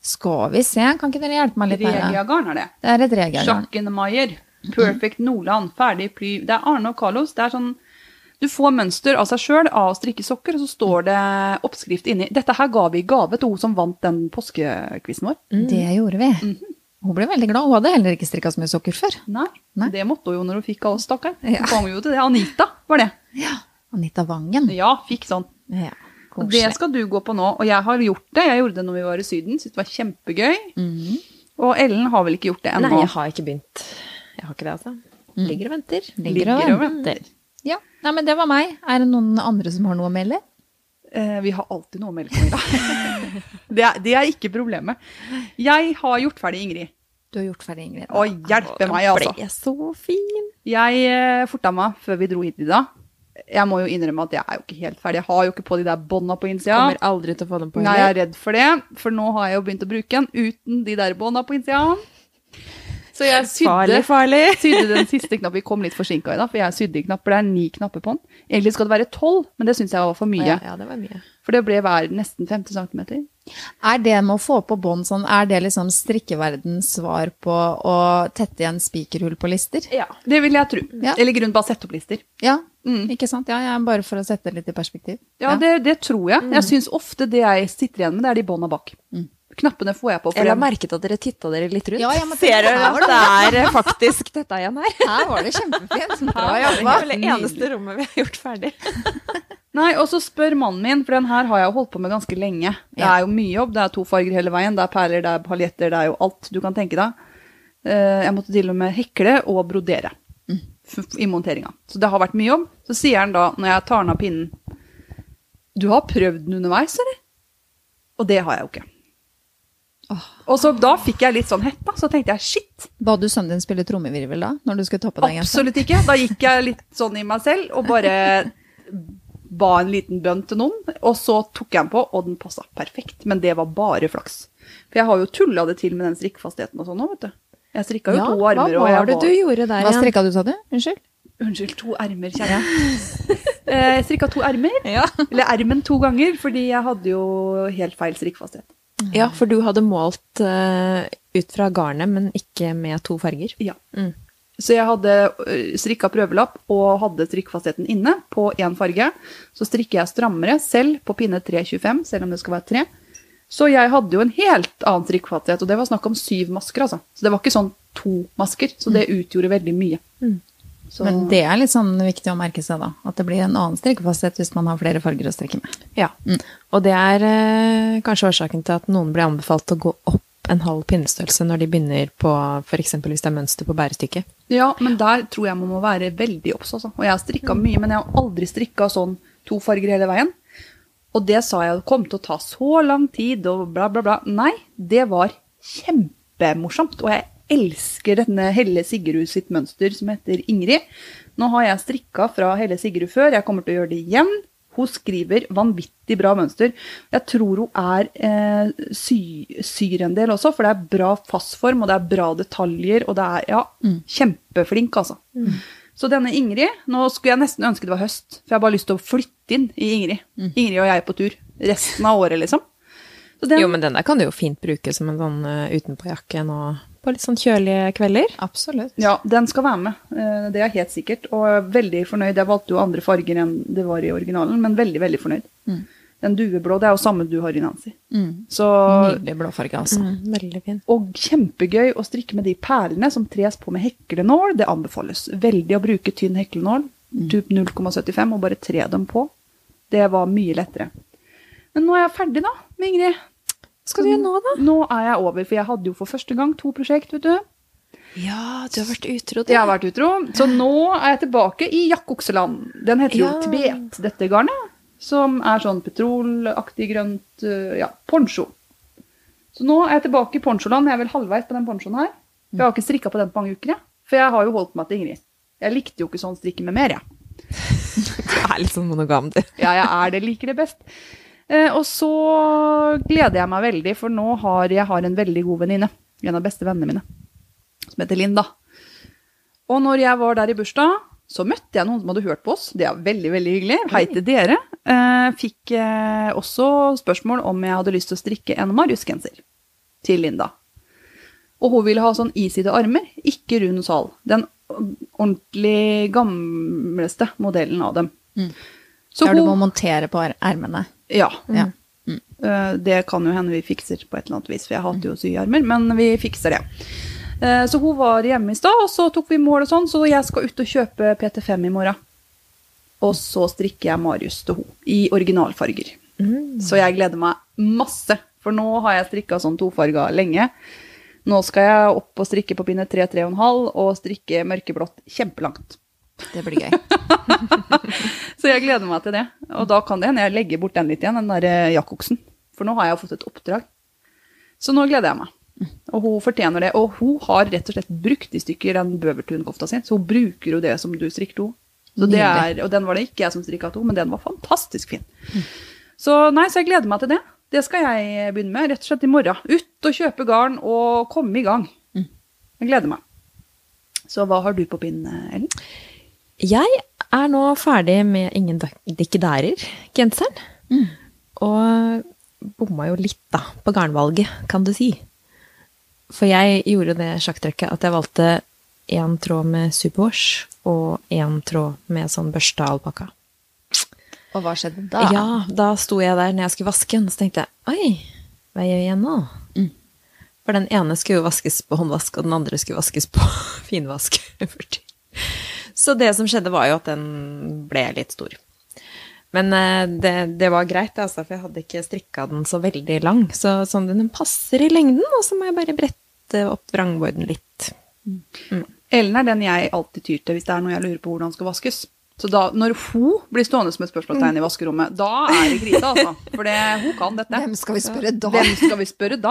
Speaker 1: Skal vi se, kan ikke dere hjelpe meg litt her? da?
Speaker 2: Regia-garn er det.
Speaker 1: Det er et regiagarn.
Speaker 2: Schackenmeier. Perfect Nordland. Ferdig plyv. Det er Arne og Carlos. Det er sånn Du får mønster av seg sjøl av å strikke sokker, og så står det oppskrift inni. Dette her ga vi i gave til hun som vant den påskekvissen vår.
Speaker 1: Mm. Det gjorde vi.
Speaker 2: Mhm.
Speaker 1: Hun ble veldig glad. Hun hadde heller ikke strikka så mye sokker før.
Speaker 2: Nei,
Speaker 1: Nei.
Speaker 2: Det måtte hun jo når hun fikk av oss, stakkar. Hun
Speaker 1: Ja.
Speaker 2: kom jo til det. Anita var det.
Speaker 1: Anita Wangen.
Speaker 2: Ja, fikk sånn.
Speaker 1: Ja.
Speaker 2: Og det skal du gå på nå. Og jeg har gjort det. Jeg gjorde det når vi var i Syden. Syntes det var kjempegøy.
Speaker 1: Mhm.
Speaker 2: Og Ellen har vel ikke gjort det
Speaker 3: Nei,
Speaker 2: ennå.
Speaker 3: jeg har ikke begynt. Jeg har ikke det, altså.
Speaker 2: Mm.
Speaker 3: Ligger og venter.
Speaker 1: Ligger og venter. Ja. Nei, men det var meg. Er det noen andre som har noe å melde?
Speaker 2: Eh, vi har alltid noe å melde på i *laughs* det, er, det er ikke problemet. Jeg har gjort ferdig Ingrid.
Speaker 1: Du har gjort ferdig, Ingrid.
Speaker 2: Å, hjelpe meg, altså.
Speaker 3: Ble jeg så fin.
Speaker 2: Jeg eh, forta meg før vi dro hit i dag. Jeg må jo innrømme at jeg er jo ikke helt ferdig. Jeg har jo ikke på de der bånda på innsida.
Speaker 3: Kommer aldri til å få den på
Speaker 2: Nei, jeg
Speaker 3: heller.
Speaker 2: er redd for det, for nå har jeg jo begynt å bruke den uten de der bånda på innsida. Så jeg sydde,
Speaker 3: Farlig, farlig.
Speaker 2: sydde
Speaker 3: *laughs*
Speaker 2: den siste knappen. Vi kom litt forsinka i dag, for jeg sydde i knapper. Det er ni knapper på den. Egentlig skal det være tolv, men det syns jeg var for mye.
Speaker 3: Ja, ja, det var mye.
Speaker 2: For det ble hver nesten 50 cm.
Speaker 1: Er det med å få på bånd sånn, er det liksom strikkeverdens svar på å tette igjen spikerhull på lister?
Speaker 2: Det vil jeg tro.
Speaker 1: Ja.
Speaker 2: Eller i grunnen bare sette opp lister.
Speaker 1: Ja,
Speaker 2: Mm.
Speaker 1: ikke sant? Ja, ja, bare for å sette det litt i perspektiv.
Speaker 2: Ja, Det, det tror jeg.
Speaker 3: Mm.
Speaker 2: Jeg syns ofte det jeg sitter igjen med, det er de bånda bak. Knappene får jeg på. for
Speaker 3: Jeg la
Speaker 2: jeg-
Speaker 3: merket at dere titta dere litt rundt.
Speaker 1: Ja, jeg må
Speaker 3: Ser
Speaker 1: tenke,
Speaker 3: dere
Speaker 1: her var
Speaker 3: at det er eh, faktisk dette igjen her?
Speaker 1: Her var det kjempefint. *laughs* Bra
Speaker 3: Ja, det
Speaker 1: jobba.
Speaker 3: var vel det eneste rommet vi har gjort ferdig.
Speaker 2: Nei, og så spør mannen min, for den her har jeg jo holdt på med ganske lenge. Det
Speaker 1: Ja.
Speaker 2: er jo mye jobb, det er to farger hele veien, det er perler, det er paljetter, det er jo alt du kan tenke deg. Eh, Jeg måtte til og med hekle og brodere f- f- i monteringa. Så det har vært mye jobb. Så sier han da, når jeg tar den av pinnen, du har prøvd den underveis, eller? Og det har jeg jo ikke. Og så da fikk jeg litt sånn hett, da. Så tenkte jeg shit,
Speaker 1: Ba du sønnen din spille trommevirvel da, når du skulle ta på deg genseren?
Speaker 2: Absolutt ikke. Da gikk jeg litt sånn i meg selv og bare ba en liten bønn til noen. Og så tok jeg den på, og den passa perfekt. Men det var bare flaks. For jeg har jo tulla det til med den strikkefastheten og sånn òg, vet du. Jeg strikka jo to armer, og
Speaker 3: hva
Speaker 2: jeg
Speaker 3: var det du gjorde der
Speaker 1: Hva strikka du, sa du? Unnskyld?
Speaker 2: Unnskyld, to ermer, kjære. Eh, Jeg strikka to ermer.
Speaker 3: Ja.
Speaker 2: Eller ermen to ganger, fordi jeg hadde jo helt feil strikkefasthet.
Speaker 3: ja, for du hadde målt eh, ut fra garnet, men ikke med to farger.
Speaker 2: Ja.
Speaker 3: Mm.
Speaker 2: Så jeg hadde strikka prøvelapp og hadde strikkfastheten inne på én farge. Så strikker jeg strammere selv på pinne 325, selv om det skal være tre. Så jeg hadde jo en helt annen strikkfasthet, og det var snakk om syv masker. altså. Så det var ikke sånn to masker, så det utgjorde veldig mye. Så,
Speaker 1: Men det er litt sånn viktig å merke seg, da. At det blir en annen strikkefasthet hvis man har flere farger å strikke med.
Speaker 3: Ja. Mm. Og det er eh, kanskje årsaken til at noen blir anbefalt å gå opp en halv pinnestørrelse når de begynner på f.eks. hvis det er mønster på bærestykket.
Speaker 2: Ja, men der tror jeg man må være veldig obs. Altså. Og jeg har strikka mye, men jeg har aldri strikka sånn to farger hele veien. Og det sa jeg kom til å ta så lang tid, og bla, bla, bla. Nei, det var kjempemorsomt. Og jeg elsker denne Helle Sigrud sitt mønster som heter Ingrid. Nå har jeg strikka fra Helle Sigrud før, jeg kommer til å gjøre det igjen. Hun skriver vanvittig bra mønster. Jeg tror hun er eh, sy, syr en del også, for det er bra fastform, og det er bra detaljer, og det er ja, kjempeflink, altså. Så denne Ingrid Nå skulle jeg nesten ønske det var høst, for jeg har bare lyst til å flytte inn i Ingrid. Ingrid og jeg på tur resten av året, liksom. Så den,
Speaker 3: Jo, men den der kan du jo fint bruke som en sånn eh, utenpåjakke nå på litt sånn kjølige kvelder.
Speaker 1: Absolutt.
Speaker 2: ja, den skal være med. Eh, Det er helt sikkert. Og jeg er veldig fornøyd. Jeg valgte jo andre farger enn det var i originalen, men veldig, veldig fornøyd. Den dueblå, det er jo samme du har i Nancy.
Speaker 1: Mm.
Speaker 2: Så
Speaker 1: Nydelig blåfarge,
Speaker 3: Mm.
Speaker 1: altså.
Speaker 3: veldig fin.
Speaker 2: Og kjempegøy å strikke med de perlene som tres på med heklenål. Det anbefales veldig å bruke tynn heklenål, typ 0,75, og bare tre dem på. Det var mye lettere. Men nå er jeg ferdig, da, med Ingrid.
Speaker 3: Hva skal du gjøre nå, da?
Speaker 2: Nå er jeg over, for jeg hadde jo for første gang to prosjekt, vet du.
Speaker 3: Ja, du har vært utro.
Speaker 2: Jeg har vært utro, så nå er jeg tilbake i jakkokseland. Den heter jo
Speaker 3: Ja.
Speaker 2: Tibet, dette garnet. Som er sånn petrolaktig grønt øh, Ja, poncho. Så nå er jeg tilbake i poncholand. Jeg er vel halvveis på den ponchoen her. For Jeg har ikke strikka på den på mange uker, jeg. For jeg har jo holdt meg til Ingrid. Jeg likte jo ikke sånn strikke med mer, jeg.
Speaker 3: Du er litt sånn monogam, du.
Speaker 2: Ja, jeg er det, liker det best. Eh, og så gleder jeg meg veldig, for nå har jeg har en veldig god venninne. En av beste vennene mine. Som heter Linda. Og når jeg var der i bursdag, så møtte jeg noen som hadde hørt på oss. Det er veldig, veldig hyggelig. Hei til dere. Eh, fikk eh, også spørsmål om jeg hadde lyst til å strikke en Marius-genser til Linda. Og hun ville ha sånn iside armer, ikke rund sal. Den ordentlig gamleste modellen av dem. Så
Speaker 1: Der du må montere på er- ermene.
Speaker 2: ja.
Speaker 1: Ja.
Speaker 2: Eh, Det kan jo hende vi fikser på et eller annet vis, for jeg hater jo å sy armer, men vi fikser det. Eh, Så hun var hjemme i stad, og så tok vi mål og sånn, så jeg skal ut og kjøpe PT5 i morgen. Og så strikker jeg Marius til hun i originalfarger. Så jeg gleder meg masse, for nå har jeg strikka sånn tofarga lenge. Nå skal jeg opp og strikke på pinne 3-3,5 og strikke mørkeblått kjempelangt.
Speaker 1: Det blir gøy.
Speaker 2: Så jeg gleder meg til det. Og da kan det hende jeg legger bort den litt igjen, den der eh, jakkoksen. For nå har jeg jo fått et oppdrag. Så nå gleder jeg meg. Og hun fortjener det. Og hun har rett og slett brukt i stykker den Bøvertun-kofta si, så hun bruker jo det som du strikket henne. Så det er, og den var det ikke jeg som strikka til henne, men den var fantastisk fin. Så nei, så jeg gleder meg til det. Det skal jeg begynne med rett og slett i morgen. Ut og kjøpe garn og komme i gang. Jeg gleder meg. Så hva har du på pinn, Ellen?
Speaker 3: Jeg er nå ferdig med Ingen dak- dikkedærer-genseren. Og bomma jo litt, da, på garnvalget, kan du si. For jeg gjorde det sjakktrekket at jeg valgte én tråd med superwash og én tråd med sånn børsta alpakka.
Speaker 1: Og hva skjedde da?
Speaker 3: Ja, da sto jeg der når jeg skulle vaske den, så tenkte jeg oi, hva gjør jeg nå? For den ene skulle jo vaskes på håndvask, og den andre skulle vaskes på *laughs* finvask. så det som skjedde, var jo at den ble litt stor. Men eh, det, det var greit, altså, for jeg hadde ikke strikka den så veldig lang. Så sånn, den passer i lengden, og så må jeg bare brette opp vrangborden litt.
Speaker 2: Ellen er den jeg alltid tyr til hvis det er noe jeg lurer på hvordan skal vaskes. Så da, når hun blir stående som et spørsmålstegn i vaskerommet, da er det grise, altså. For det, hun kan dette.
Speaker 1: Hvem skal vi spørre da?
Speaker 2: Hvem skal vi spørre da?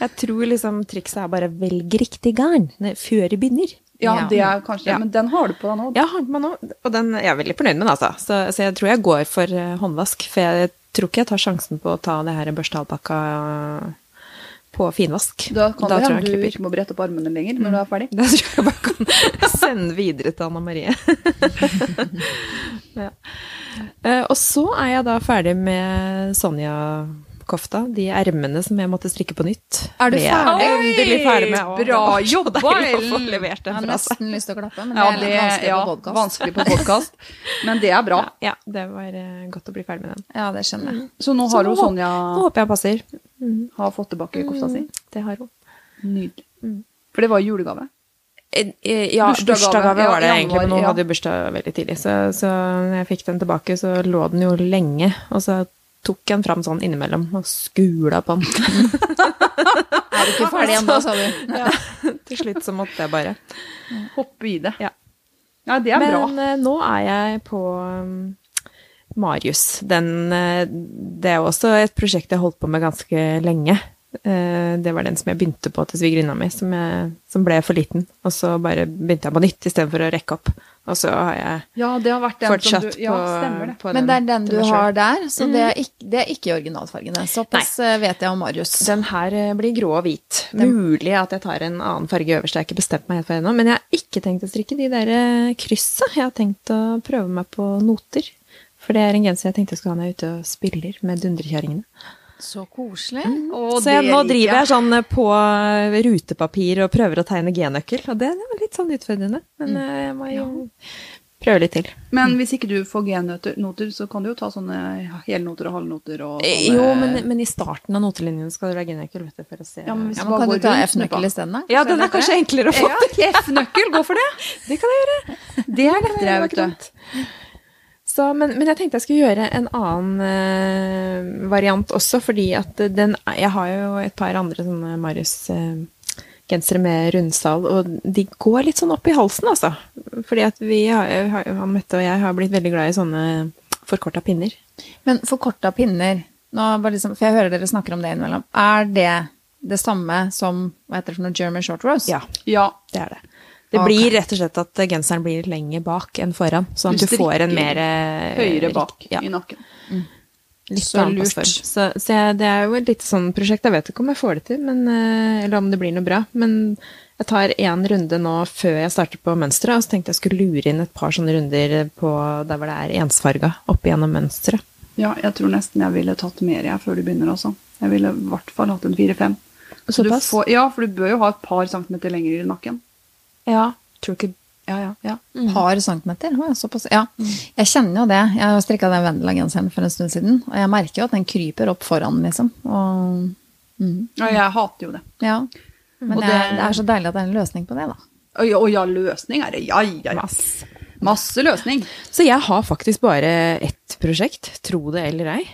Speaker 3: Jeg tror liksom trikset er bare velg riktig garn ne- før du begynner.
Speaker 2: Ja,
Speaker 1: Ja.
Speaker 2: det er kanskje
Speaker 3: Ja.
Speaker 2: Men den har du på deg nå.
Speaker 3: Ja, har den meg nå. Og den jeg er jeg veldig fornøyd med, den, altså. Så, så jeg tror jeg går for eh, håndvask. For jeg tror ikke jeg tar sjansen på å ta det her børstealpakka på finvask.
Speaker 2: Da kan det
Speaker 3: tror
Speaker 2: hende
Speaker 3: jeg
Speaker 2: du
Speaker 3: den klipper.
Speaker 2: ikke må brette opp armene lenger når du er ferdig.
Speaker 3: *laughs* Da tror jeg bare kan *laughs* sende videre til Anna Marie. *laughs* ja. Eh, Og så er jeg da ferdig med Sonja-kofta. De ermene som jeg måtte strikke på nytt.
Speaker 1: Er du
Speaker 3: Det jeg
Speaker 1: ferdig?
Speaker 3: Endelig ferdig *laughs* med. Å,
Speaker 2: Bra
Speaker 3: det var så
Speaker 2: jobba,
Speaker 3: deilig å få
Speaker 2: Ellen.
Speaker 3: levert
Speaker 1: Jeg
Speaker 3: den
Speaker 1: har
Speaker 3: fra seg.
Speaker 1: nesten lyst til å klappe, men
Speaker 2: Ja,
Speaker 1: altså. det er litt vanskelig
Speaker 2: ja,
Speaker 1: på podkast.
Speaker 2: vanskelig på podkast. Men det er bra.
Speaker 3: Ja, ja, det var eh, godt å bli ferdig med den.
Speaker 1: Ja, det skjønner jeg.
Speaker 2: Så nå
Speaker 3: Så
Speaker 2: har hun
Speaker 3: nå hå- Mm.
Speaker 2: Sonja
Speaker 3: Nå håper jeg passer.
Speaker 2: har fått tilbake kofta si.
Speaker 3: Det har hun.
Speaker 2: Nydelig. For det var julegave.
Speaker 3: eh, Ja,
Speaker 2: Bursdagsgave,
Speaker 3: bursdagsgave
Speaker 2: ja,
Speaker 3: var det
Speaker 2: januar,
Speaker 3: egentlig, men hun
Speaker 2: ja.
Speaker 3: hadde jo bursdag veldig tidlig. Så, så når jeg fikk den tilbake, så lå den jo lenge. Og så tok jeg den fram sånn innimellom og skula på den.
Speaker 1: Er du *laughs* ikke ferdig ennå, sa du?
Speaker 3: *laughs* Ja, *laughs* til slutt så måtte jeg bare.
Speaker 2: Hoppe i det.
Speaker 3: Ja.
Speaker 2: Ja, det er
Speaker 3: Men
Speaker 2: bra.
Speaker 3: eh, nå er jeg på um, Marius. Den, eh, det er jo også et prosjekt jeg holdt på med ganske lenge. Eh, det var den som jeg begynte på til svigerinna mi, som, jeg, som ble for liten. Og så bare begynte jeg på nytt istedenfor å rekke opp. Og så har jeg
Speaker 2: Ja, det har vært den som
Speaker 3: fortsatt
Speaker 2: du Ja, stemmer
Speaker 3: på,
Speaker 2: det.
Speaker 3: på
Speaker 1: Men det er den
Speaker 3: til
Speaker 1: du
Speaker 3: meg selv.
Speaker 1: har der, så det er ikke, det er ikke i originalfargene. Såpass eh, vet jeg om Marius.
Speaker 3: Den her eh, blir grå og hvit. Mulig at jeg tar en annen farge øverst. Jeg har ikke bestemt meg helt for ennå, men jeg har ikke tenkt å strikke de der eh, kryssa. Jeg har tenkt å prøve meg på noter. For det er en genser jeg tenkte jeg skulle ha når jeg er ute og spiller med dundrekjerringene.
Speaker 1: Så koselig.
Speaker 2: Og
Speaker 3: Mm. Så jeg,
Speaker 2: det
Speaker 3: nå
Speaker 2: liker
Speaker 3: driver jeg sånn eh, på eh, rutepapir og prøver å tegne G-nøkkel, og det er litt sånn utfordrende. Men eh, jeg må jo prøve litt til.
Speaker 2: Men hvis ikke du får G-noter, noter, så kan du jo ta sånne helnoter og halvnoter og sånne
Speaker 3: Eh, Jo, men, men i starten av notelinjen skal det være G-nøkkel, vet du, for å se.
Speaker 2: Ja, men hvis
Speaker 1: Ja,
Speaker 2: du
Speaker 1: men
Speaker 2: bare
Speaker 1: kan
Speaker 2: går
Speaker 1: du ta
Speaker 2: rundt
Speaker 1: F-nøkkel
Speaker 2: med-
Speaker 1: isteden, da?
Speaker 3: Ja, den er
Speaker 1: Kanskje
Speaker 3: kanskje enklere å få
Speaker 2: Ja, F-nøkkel, gå for det!
Speaker 3: *laughs* Det kan jeg gjøre.
Speaker 2: Det er lettere, vet du.
Speaker 3: Så, men, men jeg tenkte jeg skulle gjøre en annen eh, variant også, fordi at den Jeg har jo et par andre sånne Marius-gensere med rundsal, og de går litt sånn opp i halsen, altså. Fordi at vi har, har, han Mette og jeg har blitt veldig glad i sånne forkorta pinner.
Speaker 1: Men forkorta pinner, nå bare liksom, for jeg hører dere snakker om det innimellom, er det det samme som hva heter det for noe German short rose?
Speaker 3: Ja,
Speaker 2: Ja.
Speaker 3: det er det. Det
Speaker 1: Ok.
Speaker 3: blir rett og slett at genseren blir lenger bak enn foran, sånn at
Speaker 2: Du
Speaker 3: du får
Speaker 2: strikker
Speaker 3: en mer eh,
Speaker 2: Høyre
Speaker 3: rik-
Speaker 2: bak
Speaker 3: Ja.
Speaker 2: i nakken.
Speaker 3: Litt
Speaker 1: Så
Speaker 3: annen
Speaker 1: lurt.
Speaker 3: passform. Så, så jeg, det er jo et lite sånn prosjekt. Jeg vet ikke om jeg får det til, men, eh, eller om det blir noe bra. Men jeg tar én runde nå før jeg starter på mønsteret, og så tenkte jeg skulle lure inn et par sånne runder på der hvor det er ensfarga opp igjennom mønsteret.
Speaker 2: Ja, jeg tror nesten jeg ville tatt mer jeg før du begynner, altså. Jeg ville i hvert fall hatt en fire-fem. Så du
Speaker 3: Såpass?
Speaker 2: får- Ja, for du bør jo ha et par centimeter lenger i nakken.
Speaker 3: Ja. Tror ikke
Speaker 2: Ja, ja, ja.
Speaker 1: Mm. Par centimeter? Å, ja, såpass. Ja. Jeg kjenner jo det. Jeg har strikka den Vendela-genseren for en stund siden, og jeg merker jo at den kryper opp foran, liksom. Og, mm.
Speaker 2: Ja, jeg hater jo det.
Speaker 1: ja. Men
Speaker 2: Og
Speaker 1: Mm. det,
Speaker 2: det-
Speaker 1: det er så deilig at det er en løsning på det, da.
Speaker 2: Og ja, og ja, løsning er det. Ja, ja, ja.
Speaker 3: masse.
Speaker 2: Masse løsning.
Speaker 3: Så jeg har faktisk bare ett prosjekt, tro det eller ei.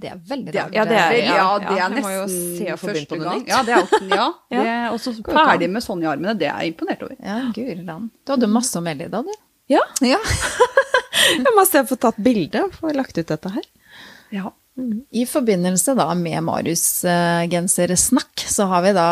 Speaker 1: Det er veldig
Speaker 2: Det er-
Speaker 1: rart.
Speaker 3: Ja, det er-
Speaker 2: Vel, ja,
Speaker 3: ja,
Speaker 2: det er
Speaker 3: jeg må jo
Speaker 2: nesten
Speaker 3: se å få begynt på
Speaker 2: første
Speaker 3: noe
Speaker 2: gang.
Speaker 3: nytt.
Speaker 2: Ja, det er jo, *laughs* ja, det, er- og så
Speaker 3: ikke an.
Speaker 2: ferdig med sånn i armene, det er jeg imponert over.
Speaker 1: Ja, guri land. Du hadde masse å melde i dag, du.
Speaker 3: Ja,
Speaker 1: Ja.
Speaker 3: jeg må se å få tatt bilde og få lagt ut dette her.
Speaker 2: Ja.
Speaker 1: I forbindelse da med Marius-gensersnakk, så har vi da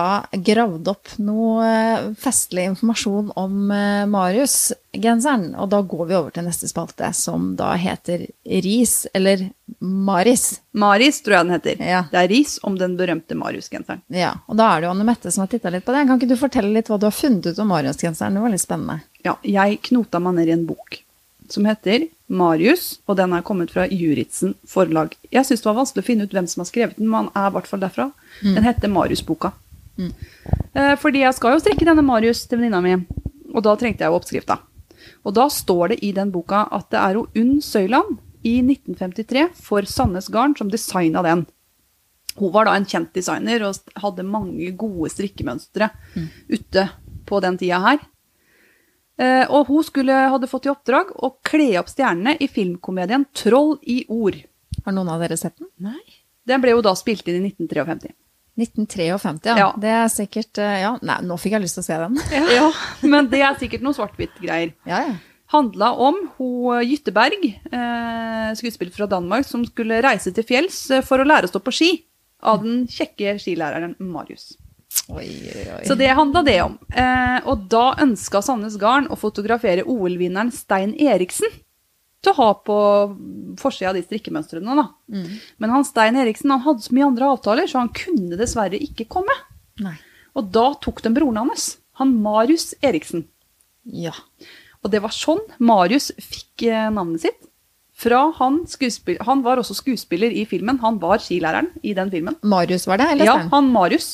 Speaker 1: gravd opp noe eh, festlig informasjon om eh, Marius-genseren. Og da går vi over til neste spalte, som da heter Ris, eller Maris.
Speaker 2: Maris, tror jeg den heter.
Speaker 1: Ja.
Speaker 2: Det er ris om den berømte Marius-genseren.
Speaker 1: Ja, og da er det jo Anne Mette som har titta litt på det. Kan ikke du fortelle litt hva du har funnet ut om Marius-genseren? Det var litt spennende.
Speaker 2: Ja, jeg knota meg ned i en bok som heter Marius, og den er kommet fra Juritzen forlag. Jeg syns det var vanskelig å finne ut hvem som har skrevet den, men han er i hvert fall derfra. Den heter Marius-boka. Eh, Fordi jeg skal jo strikke denne Marius til venninna mi, og da trengte jeg jo oppskrifta. Og da står det i den boka at det er jo Unn Søyland i 1953 for Sandnes Garn som designa den. Hun var da en kjent designer og st- hadde mange gode strikkemønstre ute på den tida her. Eh, Og hun skulle, hadde fått i oppdrag å kle opp stjernene i filmkomedien 'Troll i ord'.
Speaker 1: Har noen av dere sett den?
Speaker 3: Nei.
Speaker 2: Den ble jo da spilt inn i 1953.
Speaker 1: 1953, ja.
Speaker 2: Ja.
Speaker 1: Det er sikkert eh, Ja, nei, nå fikk jeg lyst til å se den. *laughs*
Speaker 2: *laughs* Ja, Men det er sikkert noen svart-hvitt-greier.
Speaker 1: Ja, ja.
Speaker 2: handla om hun Gytteberg, eh, skuespiller fra Danmark, som skulle reise til fjells eh, for å lære å stå på ski av den kjekke skilæreren Marius.
Speaker 1: Oi, oi, oi.
Speaker 2: Så det handla det om. Eh, og da ønska Sandnes Garn å fotografere OL-vinneren Stein Eriksen til å ha på forsida av de strikkemønstrene. da.
Speaker 1: Mm.
Speaker 2: Men han Stein Eriksen han hadde så mye andre avtaler, så han kunne dessverre ikke komme.
Speaker 1: Nei.
Speaker 2: Og da tok de broren hans, han Marius Eriksen.
Speaker 1: Ja.
Speaker 2: Og det var sånn Marius fikk eh, navnet sitt. Fra han, skuespill- han var også skuespiller i filmen. Han var skilæreren i den filmen.
Speaker 1: Marius var det, eller
Speaker 2: Ja,
Speaker 1: Stein?
Speaker 2: han Marius.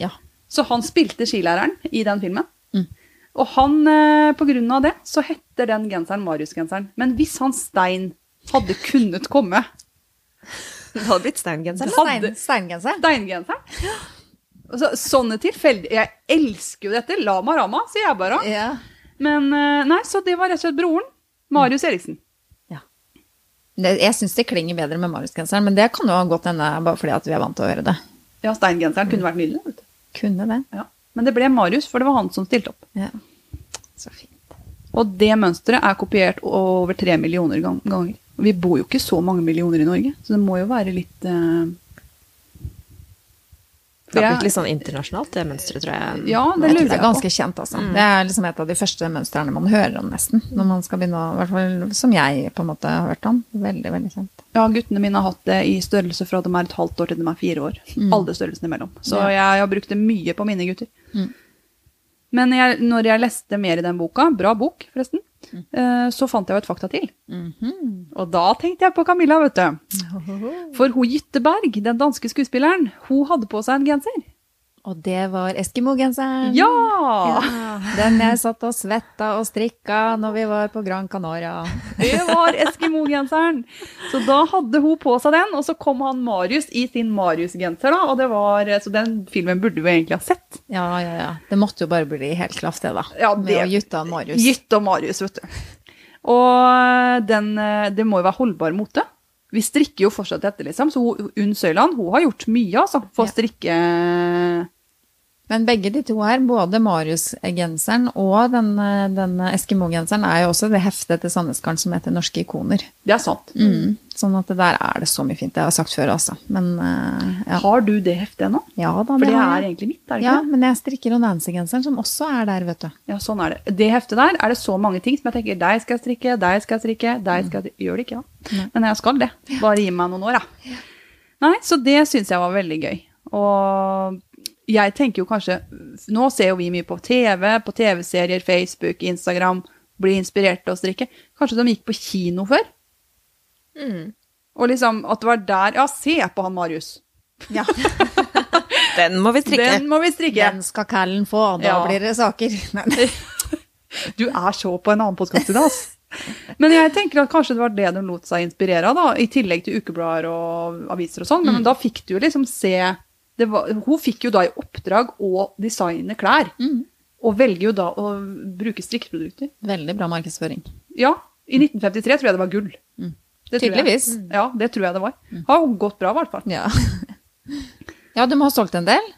Speaker 1: Ja.
Speaker 2: Så han spilte skilæreren i den filmen.
Speaker 1: Mm.
Speaker 2: Og han, eh, på grunn av det, så heter den genseren Marius-genseren. Men hvis han Stein hadde kunnet komme
Speaker 3: Det hadde blitt steingenser.
Speaker 1: Eller
Speaker 2: Hadde-
Speaker 1: stein, steingenseren?
Speaker 2: Steingenseren så, Sånne tilfeldig Jeg elsker jo dette. Lama rama, sier jeg bare.
Speaker 1: Ja.
Speaker 2: Men eh, nei, så det var rett og slett broren. Marius Eriksen.
Speaker 1: Det, jeg syns det klinger bedre med Marius-genseren, men det kan jo godt hende bare fordi at vi er vant til å høre det.
Speaker 2: Ja, Steingenseren kunne vært nydelig. vet du.
Speaker 1: Kunne det.
Speaker 2: Ja. Men det ble Marius, for det var han som stilte opp.
Speaker 1: Ja. Så fint.
Speaker 2: Og det mønsteret er kopiert over tre millioner gang- ganger. Og Vi bor jo ikke så mange millioner i Norge, så det må jo være litt eh,
Speaker 3: Det har blitt
Speaker 2: jeg-
Speaker 3: litt sånn internasjonalt, det mønsteret, tror jeg.
Speaker 2: Ja,
Speaker 1: Det,
Speaker 2: det lurer
Speaker 1: det er
Speaker 2: jeg
Speaker 1: ganske
Speaker 2: på. Mm.
Speaker 1: kjent, altså. Det er liksom et av de første mønstrene man hører om, nesten. Når man skal begynne å I hvert fall som jeg på en måte har hørt om. Veldig, veldig kjent.
Speaker 2: Ja, guttene mine har hatt det i størrelse fra de er et halvt år til de er fire år. Alle størrelsene imellom. Så
Speaker 1: Ja.
Speaker 2: jeg har brukt det mye på mine gutter. Men jeg, når jeg leste mer i den boka, bra bok forresten, eh, så fant jeg jo et fakta til. Og da tenkte jeg på Camilla, vet du. For hun Gytteberg, den danske skuespilleren, hun hadde på seg en genser.
Speaker 1: Og det var Eskimo-genseren.
Speaker 2: Ja!
Speaker 1: Den jeg satt og svetta og strikka når vi var på Gran Canaria.
Speaker 2: *laughs* Det var Eskimo-genseren. Så da hadde hun på seg den, og så kom han Marius i sin Marius-genser, da. Og det var, så den filmen burde vi egentlig ha sett.
Speaker 1: Ja, ja, ja. Det måtte jo bare bli helt klaff, det, da.
Speaker 2: Ja,
Speaker 1: Med
Speaker 2: det-
Speaker 1: å gytte av Marius.
Speaker 2: Gytt og Marius, vet du. Og den, eh, det må jo være holdbar mote. Vi strikker jo fortsatt dette, liksom. Så hun- Unn Søyland, hun har gjort mye, altså, for å strikke
Speaker 1: Men begge de to her, både Marius-genseren og den, eh, den Eskimo-genseren, er jo også det heftet til Sandnesgarden som heter Norske ikoner.
Speaker 2: Det er sant.
Speaker 1: Mm. Sånn at det der er det så mye fint. Det har jeg sagt før, altså. Men eh, ja.
Speaker 2: Har du det heftet ennå?
Speaker 1: ja da,
Speaker 2: For det
Speaker 1: har
Speaker 2: er
Speaker 1: jeg.
Speaker 2: egentlig mitt, er det ikke
Speaker 1: Ja,
Speaker 2: det?
Speaker 1: men jeg strikker jo Nancy-genseren, som også er der, vet du.
Speaker 2: Ja, sånn er det. Det heftet der er det så mange ting som jeg tenker deg skal jeg strikke, deg skal jeg strikke, deg skal jeg strikke. Gjør det ikke, da. Men jeg skal det. Bare gi meg noen år, da. Nei, så det syns jeg var veldig gøy. Og jeg tenker jo kanskje Nå ser jo vi mye på TV, på TV-serier, Facebook, Instagram. Bli inspirert til å strikke. Kanskje de gikk på kino før?
Speaker 3: Mm.
Speaker 2: Og liksom at det var der Ja, se på han Marius.
Speaker 3: Den må vi strikke.
Speaker 2: Den må vi strikke.
Speaker 1: Den skal Callen få, da
Speaker 2: Ja.
Speaker 1: blir det saker. *laughs*
Speaker 2: *laughs*
Speaker 1: Nei.
Speaker 2: Du er så på en annen podkast i dag, ass. Men jeg tenker at kanskje det var det de lot seg inspirere av, da, i tillegg til ukeblader og aviser og sånn. Men da fikk du jo liksom se det var, Hun fikk jo da i oppdrag å designe klær. Og velger jo da å bruke strikkeprodukter.
Speaker 1: Veldig bra markedsføring.
Speaker 2: Ja, i 1953 tror jeg det var gull. Det tror jeg. Mm.
Speaker 1: Tydeligvis.
Speaker 2: Ja, det tror jeg det var. Har gått bra, i hvert fall.
Speaker 1: Ja. ja, du må ha solgt en del.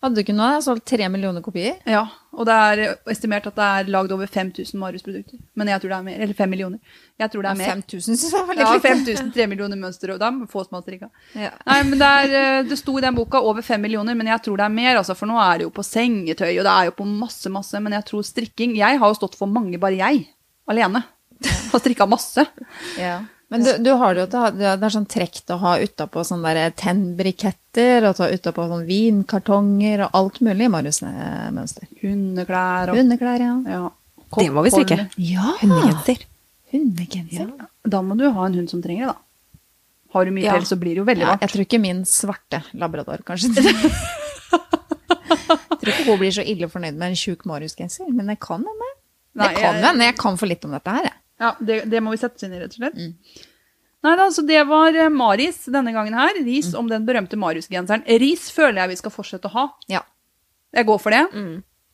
Speaker 1: Hadde du ikke noe? Jeg har solgt tre millioner kopier.
Speaker 2: Ja, og det er estimert at det er lagd over 5000 Marius-produkter. Men jeg tror det er mer. Eller 5 millioner. Jeg tror det er mer.
Speaker 1: 5000 synes jeg var litt
Speaker 2: Ja,
Speaker 1: lite.
Speaker 2: 5000, 3 millioner mønstre, og dem få som har strikka.
Speaker 1: *laughs* Ja.
Speaker 2: Nei, men det, er, eh, det sto i den boka over 5 millioner, men jeg tror det er mer, altså, for nå er det jo på sengetøy, og det er jo på masse, masse, men jeg tror strikking Jeg har jo stått for mange, bare jeg, alene. Har strikka masse.
Speaker 1: Ja. Men du, du har det jo til å ha- det er sånn trekk til å ha utapå sånne der eh, tennbriketter, og ta utapå sånn vinkartonger og alt mulig i Marius-mønster.
Speaker 2: Hundeklær og
Speaker 1: Hundeklær, ja.
Speaker 2: ja.
Speaker 3: Det må vi strikke.
Speaker 1: Ja!
Speaker 3: Hundegenser.
Speaker 1: Hundegenser.
Speaker 2: Da må du ha en hund som trenger det, da. Har du mye
Speaker 1: Ja.
Speaker 2: pels, så blir det jo veldig
Speaker 1: Ja,
Speaker 2: varmt.
Speaker 1: jeg tror ikke min svarte labrador, kanskje. *laughs* Jeg tror ikke hun blir så ille fornøyd med en sjuk Marius-genser, men jeg kan henne. Det
Speaker 2: Nei,
Speaker 1: kan
Speaker 2: jeg-
Speaker 1: hende. Jeg kan for litt om dette her, jeg.
Speaker 2: Ja, det, det må vi sette oss inn i, rett og slett.
Speaker 1: Mm.
Speaker 2: Nei da, så det var eh, Maris denne gangen her.
Speaker 1: Mm.
Speaker 2: Ris om den berømte Marius-genseren. Ris føler jeg vi skal fortsette å ha.
Speaker 1: Ja. Mm.
Speaker 2: Jeg går for det.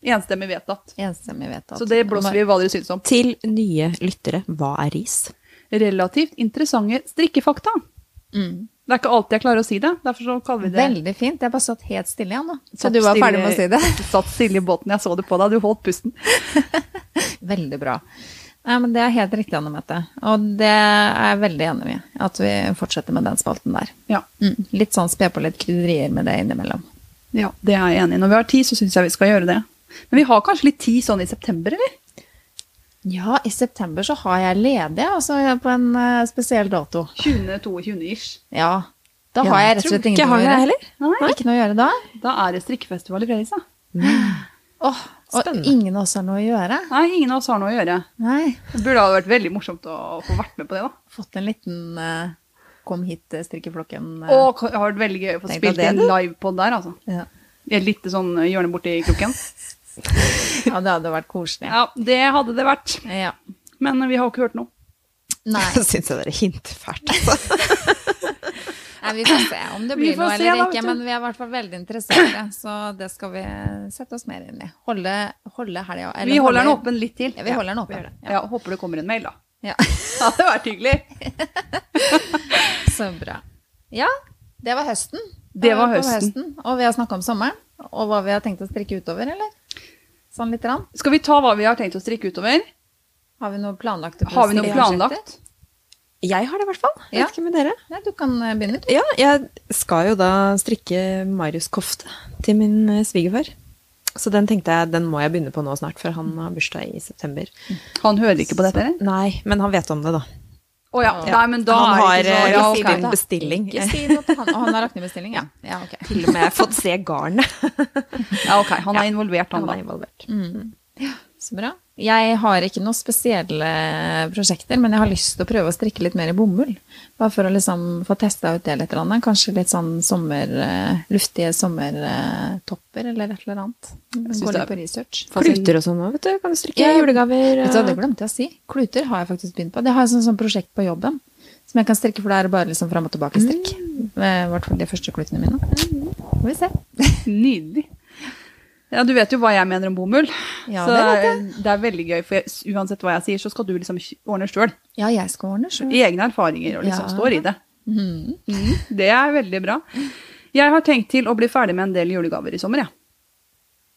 Speaker 2: Enstemmig vedtatt.
Speaker 1: Enstemmig vedtatt.
Speaker 2: Så det blåser vi i hva dere syns om.
Speaker 3: Til nye lyttere, hva er ris?
Speaker 2: Relativt interessante strikkefakta.
Speaker 1: Mm.
Speaker 2: Det er ikke alltid jeg klarer å si det. Derfor så kaller vi det
Speaker 1: Veldig fint. Jeg bare satt helt stille igjen, da. Så
Speaker 2: Satt
Speaker 1: du var
Speaker 2: stille-
Speaker 1: ferdig med å si det?
Speaker 2: *laughs* Satt stille i båten. Jeg så det på deg. Du holdt pusten.
Speaker 1: *laughs* Veldig bra. Nei, men Det er helt riktig, Anne Mette. Og det er jeg veldig enig i. At vi fortsetter med den spalten der.
Speaker 2: Ja.
Speaker 1: Mm. Litt sånn spe på litt krydderier med det innimellom.
Speaker 2: ja, det er jeg enig i. Når vi har tid, så syns jeg vi skal gjøre det. Men vi har kanskje litt tid sånn i september, eller?
Speaker 1: Ja, i september så har jeg ledig, altså jeg er på en eh, spesiell dato.
Speaker 2: 20.-22. ish.
Speaker 1: Ja. Da har jeg rett og slett ingenting å gjøre.
Speaker 2: Nei.
Speaker 1: Ikke noe å gjøre da.
Speaker 2: Da er det strikkefestival i Fredrikstad.
Speaker 1: Åh, og
Speaker 3: Spennende.
Speaker 1: ingen av oss har noe å gjøre.
Speaker 2: Nei, ingen av oss har noe å gjøre.
Speaker 1: Nei.
Speaker 2: Det burde ha vært veldig morsomt å få vært med på det, da.
Speaker 1: Fått en liten eh, kom hit, eh, strikkeflokken. eh,
Speaker 2: Og det har vært veldig gøy å få
Speaker 1: Tenk deg
Speaker 2: spilt
Speaker 1: det,
Speaker 2: en
Speaker 1: du.
Speaker 2: livepod der, altså.
Speaker 1: Ja.
Speaker 2: I et lite sånn hjørne borti kroken.
Speaker 1: ja, det hadde vært koselig.
Speaker 2: Ja, det hadde det vært.
Speaker 1: Ja.
Speaker 2: Men vi har ikke hørt noe.
Speaker 3: *laughs*
Speaker 1: Nei.
Speaker 2: *laughs*
Speaker 3: Jeg syns jeg dere hinter fælt, altså.
Speaker 1: Nei, vi får se om det
Speaker 2: Vi
Speaker 1: blir
Speaker 2: får
Speaker 1: noe
Speaker 2: se,
Speaker 1: eller
Speaker 2: da,
Speaker 1: ikke,
Speaker 2: vet du.
Speaker 1: men vi er i hvert fall veldig interesserte. Så det skal vi sette oss mer inn i. Holde, holde helga eller
Speaker 2: Vi holder den
Speaker 1: holde-
Speaker 2: åpen litt til.
Speaker 1: Ja, vi holder den
Speaker 2: vi
Speaker 1: åpen.
Speaker 2: gjør det. Ja, Håper det kommer en mail, da. *laughs*
Speaker 1: Ja. *laughs*
Speaker 2: Det hadde vært hyggelig.
Speaker 1: Så bra. Ja, det var høsten.
Speaker 2: Det var
Speaker 1: Da er vi på
Speaker 2: høsten.
Speaker 1: Og vi har snakka om sommeren, og hva vi har tenkt å strikke utover, eller? Sånn lite grann.
Speaker 2: Skal vi ta hva vi har tenkt å strikke utover?
Speaker 1: Har vi noe planlagt?
Speaker 2: Har vi noe planlagt?
Speaker 3: *laughs* Jeg har det i hvert fall. Jeg
Speaker 1: Ja.
Speaker 3: Vet ikke med dere.
Speaker 1: Nei, du kan eh, begynne, du.
Speaker 3: Ja, jeg skal jo da strikke Marius-kofte til min eh, svigerfar. Så den tenkte jeg, den må jeg begynne på nå snart, for han har bursdag i september.
Speaker 2: Han hører ikke på dette, eller?
Speaker 3: Nei, men han vet om det, da.
Speaker 2: Å ja. Nei, men da
Speaker 3: han
Speaker 2: er
Speaker 3: har
Speaker 2: det
Speaker 3: eh,
Speaker 2: ikke
Speaker 1: ja,
Speaker 2: så
Speaker 3: lagt
Speaker 1: ok,
Speaker 3: inn
Speaker 1: da.
Speaker 3: bestilling. *laughs*
Speaker 1: Ikke si noe til han. Å, han har lagt ned bestilling,
Speaker 2: *laughs*
Speaker 1: ja. Ja, ok.
Speaker 3: Til og med fått se
Speaker 1: *laughs*
Speaker 3: garnet.
Speaker 2: Ja, ok. Han er involvert, han,
Speaker 3: Han er
Speaker 2: da.
Speaker 3: involvert.
Speaker 1: Mm. Så bra. Jeg har ikke noen spesielle prosjekter, men jeg har lyst til å prøve å strikke litt mer i bomull. Bare for å liksom få testa ut det litt. eller annet. Kanskje litt sånn sommer, eh, luftige sommertopper eller et eller annet. Gå
Speaker 2: synes
Speaker 1: litt
Speaker 2: det er-
Speaker 1: på research.
Speaker 3: Kluter og sånn òg, vet du. Kan du strikke
Speaker 1: Ja.
Speaker 3: julegaver?
Speaker 1: Vet du, hva, det
Speaker 3: eh,
Speaker 1: glemte jeg å si. Kluter har jeg faktisk begynt på. Det har jeg sånn, sånn prosjekt på jobben som jeg kan strikke, for det er bare liksom fram og tilbake strikk. I hvert fall de første klutene mine. Får vi se.
Speaker 2: Nydelig. Ja, Du vet jo hva jeg mener om bomull.
Speaker 1: Ja,
Speaker 2: så
Speaker 1: det vet
Speaker 2: er- det er veldig gøy, for jeg, uansett hva jeg sier, så skal du liksom ordne sjøl.
Speaker 1: Ja, jeg skal ordne sjøl.
Speaker 2: I egne erfaringer og liksom
Speaker 1: Ja.
Speaker 2: står i det.
Speaker 1: Mhm.
Speaker 2: Mm, det er veldig bra. Jeg har tenkt til å bli ferdig med en del julegaver i sommer, jeg.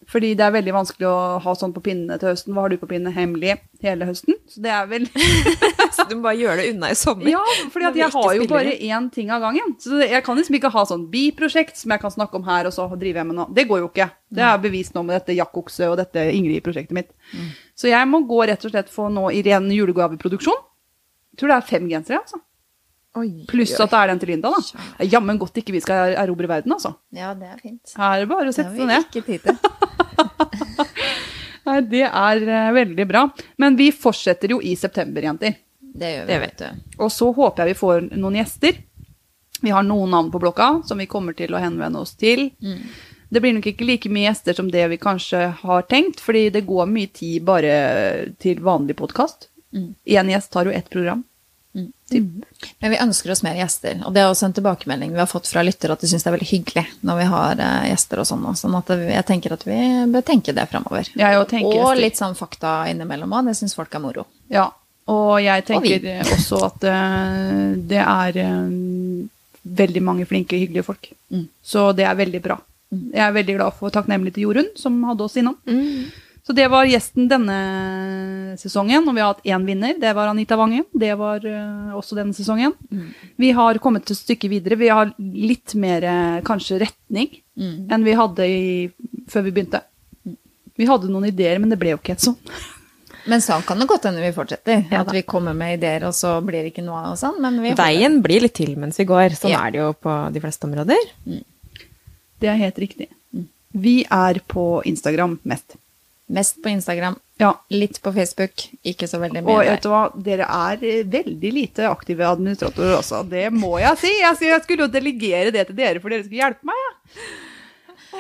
Speaker 2: Fordi det er veldig vanskelig å ha sånn på pinnene til høsten. Hva har du på pinnene hemmelig hele høsten? Så det er vel
Speaker 3: Så *laughs* du må bare gjøre det unna i sommer. *laughs*
Speaker 2: Ja, fordi at
Speaker 3: Når vi
Speaker 2: jeg
Speaker 3: ikke
Speaker 2: har jo
Speaker 3: spiller
Speaker 2: bare
Speaker 3: inn.
Speaker 2: én ting av gangen. Så jeg kan liksom ikke ha sånn biprosjekt som jeg kan snakke om her, og så drive med noe. Det går jo ikke. Det er bevist nå med dette jakkokse og dette Ingrid-prosjektet mitt.
Speaker 3: Mm.
Speaker 2: Så jeg må gå rett og slett for nå i ren julegaveproduksjon. Jeg tror det er fem gensere, altså.
Speaker 1: Oi,
Speaker 2: Pluss
Speaker 1: oi.
Speaker 2: at det er den til Linda, da. Det er Jammen godt ikke vi skal erobre verden, altså.
Speaker 1: Ja, det er fint.
Speaker 2: Her er det bare å
Speaker 1: Det har
Speaker 2: sette
Speaker 1: vi
Speaker 2: seg ned.
Speaker 1: ikke tid til.
Speaker 2: Nei, det er eh, veldig bra. Men vi fortsetter jo i september, jenter.
Speaker 1: *laughs* Det gjør vi,
Speaker 3: Det
Speaker 1: vet du.
Speaker 2: Og så håper jeg vi får noen gjester. Vi har noen navn på blokka som vi kommer til å henvende oss til.
Speaker 1: Mm.
Speaker 2: Det blir nok ikke like mye gjester som det vi kanskje har tenkt, fordi det går mye tid bare til vanlig podkast.
Speaker 1: Mm.
Speaker 2: Én gjest tar jo ett program. Typ.
Speaker 1: Men vi ønsker oss mer gjester, og det er også en tilbakemelding vi har fått fra lyttere at de syns det er veldig hyggelig når vi har eh, gjester og sånn. også. Sånn at det- jeg tenker at vi bør tenke det framover.
Speaker 2: Jeg òg tenker
Speaker 1: og
Speaker 2: gjester.
Speaker 1: litt sånn fakta innimellom òg. Det syns folk er moro.
Speaker 2: Ja. Og jeg
Speaker 1: vi.
Speaker 2: tenker eh, også at eh, det er eh, veldig mange flinke, hyggelige folk.
Speaker 1: Mm.
Speaker 2: Så det er veldig bra. Jeg er veldig glad for takknemlig til Jorunn, som hadde oss innom.
Speaker 1: Mm.
Speaker 2: Så det var gjesten denne sesongen, og vi har hatt én vinner. Det var Anita Wangen. Det var eh, også denne sesongen. Vi har kommet et stykke videre. Vi har litt mer eh, kanskje retning
Speaker 1: Mm.
Speaker 2: enn vi hadde i, før vi begynte. Vi hadde noen ideer, men det ble jo ikke helt sånn.
Speaker 1: Men sånn kan det godt hende vi fortsetter.
Speaker 2: Ja
Speaker 1: at
Speaker 2: da.
Speaker 1: vi kommer med ideer, og så blir det ikke noe av og sånn. Men vi
Speaker 3: Veien blir litt til mens vi går. Sånn
Speaker 1: Ja.
Speaker 3: er det jo på de fleste områder.
Speaker 2: Det er helt riktig. Vi er på Instagram mest.
Speaker 1: mest på Instagram.
Speaker 2: Ja.
Speaker 1: Litt på Facebook. Ikke så veldig
Speaker 2: Og
Speaker 1: mye
Speaker 2: vet
Speaker 1: der.
Speaker 2: du hva, dere er eh, veldig lite aktive administratorer også. Det må jeg si. Jeg skulle- Jeg skulle jo delegere det til dere, for dere skulle hjelpe meg. Ja.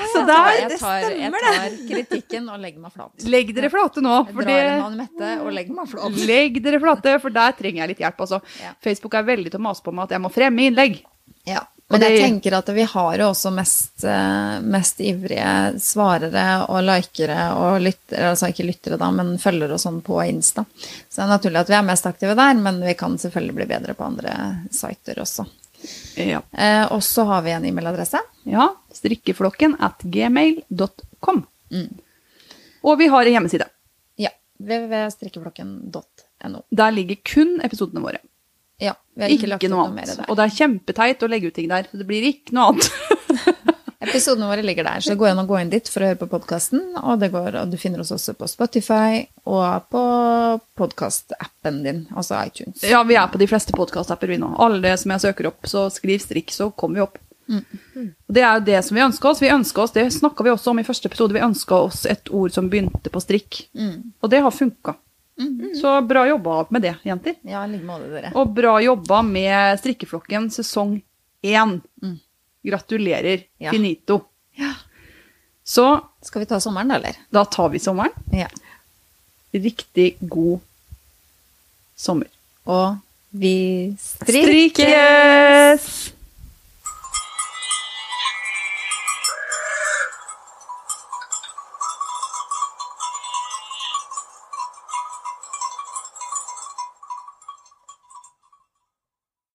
Speaker 2: Så der,
Speaker 1: jeg
Speaker 2: det
Speaker 1: tar, jeg
Speaker 2: stemmer, det.
Speaker 1: tar kritikken og legger meg
Speaker 2: *laughs*
Speaker 1: flat.
Speaker 2: Legg dere flate nå.
Speaker 1: Jeg
Speaker 2: For
Speaker 1: drar en
Speaker 2: det,
Speaker 1: Anne Mette og legger meg flat.
Speaker 2: legg dere flate, for der trenger jeg litt hjelp, altså.
Speaker 1: Ja.
Speaker 2: Facebook er veldig til å mase på meg at jeg må fremme innlegg.
Speaker 1: Ja.
Speaker 2: Og
Speaker 1: Men jeg
Speaker 2: det-
Speaker 1: tenker at vi har jo også mest, eh, mest ivrige svarere og likere og lyttere, altså ikke lyttere da, men følgere og sånn på Insta. Så det er naturlig at vi er mest aktive der, men vi kan selvfølgelig bli bedre på andre siter også.
Speaker 2: Ja.
Speaker 1: Eh, og så har vi en e-mailadresse.
Speaker 2: ja strikkeflokken at gmail.com.
Speaker 1: Mm.
Speaker 2: Og vi har en hjemmeside.
Speaker 1: Ja. www.strikkeflokken.no.
Speaker 2: Der ligger kun episodene våre.
Speaker 1: Ja, vi har ikke,
Speaker 2: Ikke,
Speaker 1: lagt ut
Speaker 2: noe
Speaker 1: noe mer
Speaker 2: annet.
Speaker 1: der.
Speaker 2: Og det er kjempeteit å legge ut ting der, så det blir ikke noe annet.
Speaker 1: Episodene våre ligger der, så det går an å gå inn dit for å høre på podkasten. Og, det går- og du finner oss også på Spotify og på podkastappen din, altså iTunes.
Speaker 2: Ja, vi er på de fleste podkast-apper vi nå. Alle som jeg søker opp, så skriv strikk, så kommer vi opp.
Speaker 1: Mm.
Speaker 2: Og Det er jo det som vi ønsker oss. Vi ønsker oss, Det snakka vi også om i første episode. Vi ønska oss et ord som begynte på strikk. Og det har funka. Så bra jobba med det, jenter.
Speaker 1: Ja, i like måte, dere.
Speaker 2: Og bra jobba med Strikkeflokken sesong én. Gratulerer.
Speaker 1: Mm. Ja.
Speaker 2: Finito.
Speaker 1: Ja.
Speaker 2: Så
Speaker 1: Skal vi ta sommeren, da, eller?
Speaker 2: da tar vi sommeren.
Speaker 1: Ja.
Speaker 2: Riktig god sommer.
Speaker 1: Og vi strikker!
Speaker 2: Strikkes!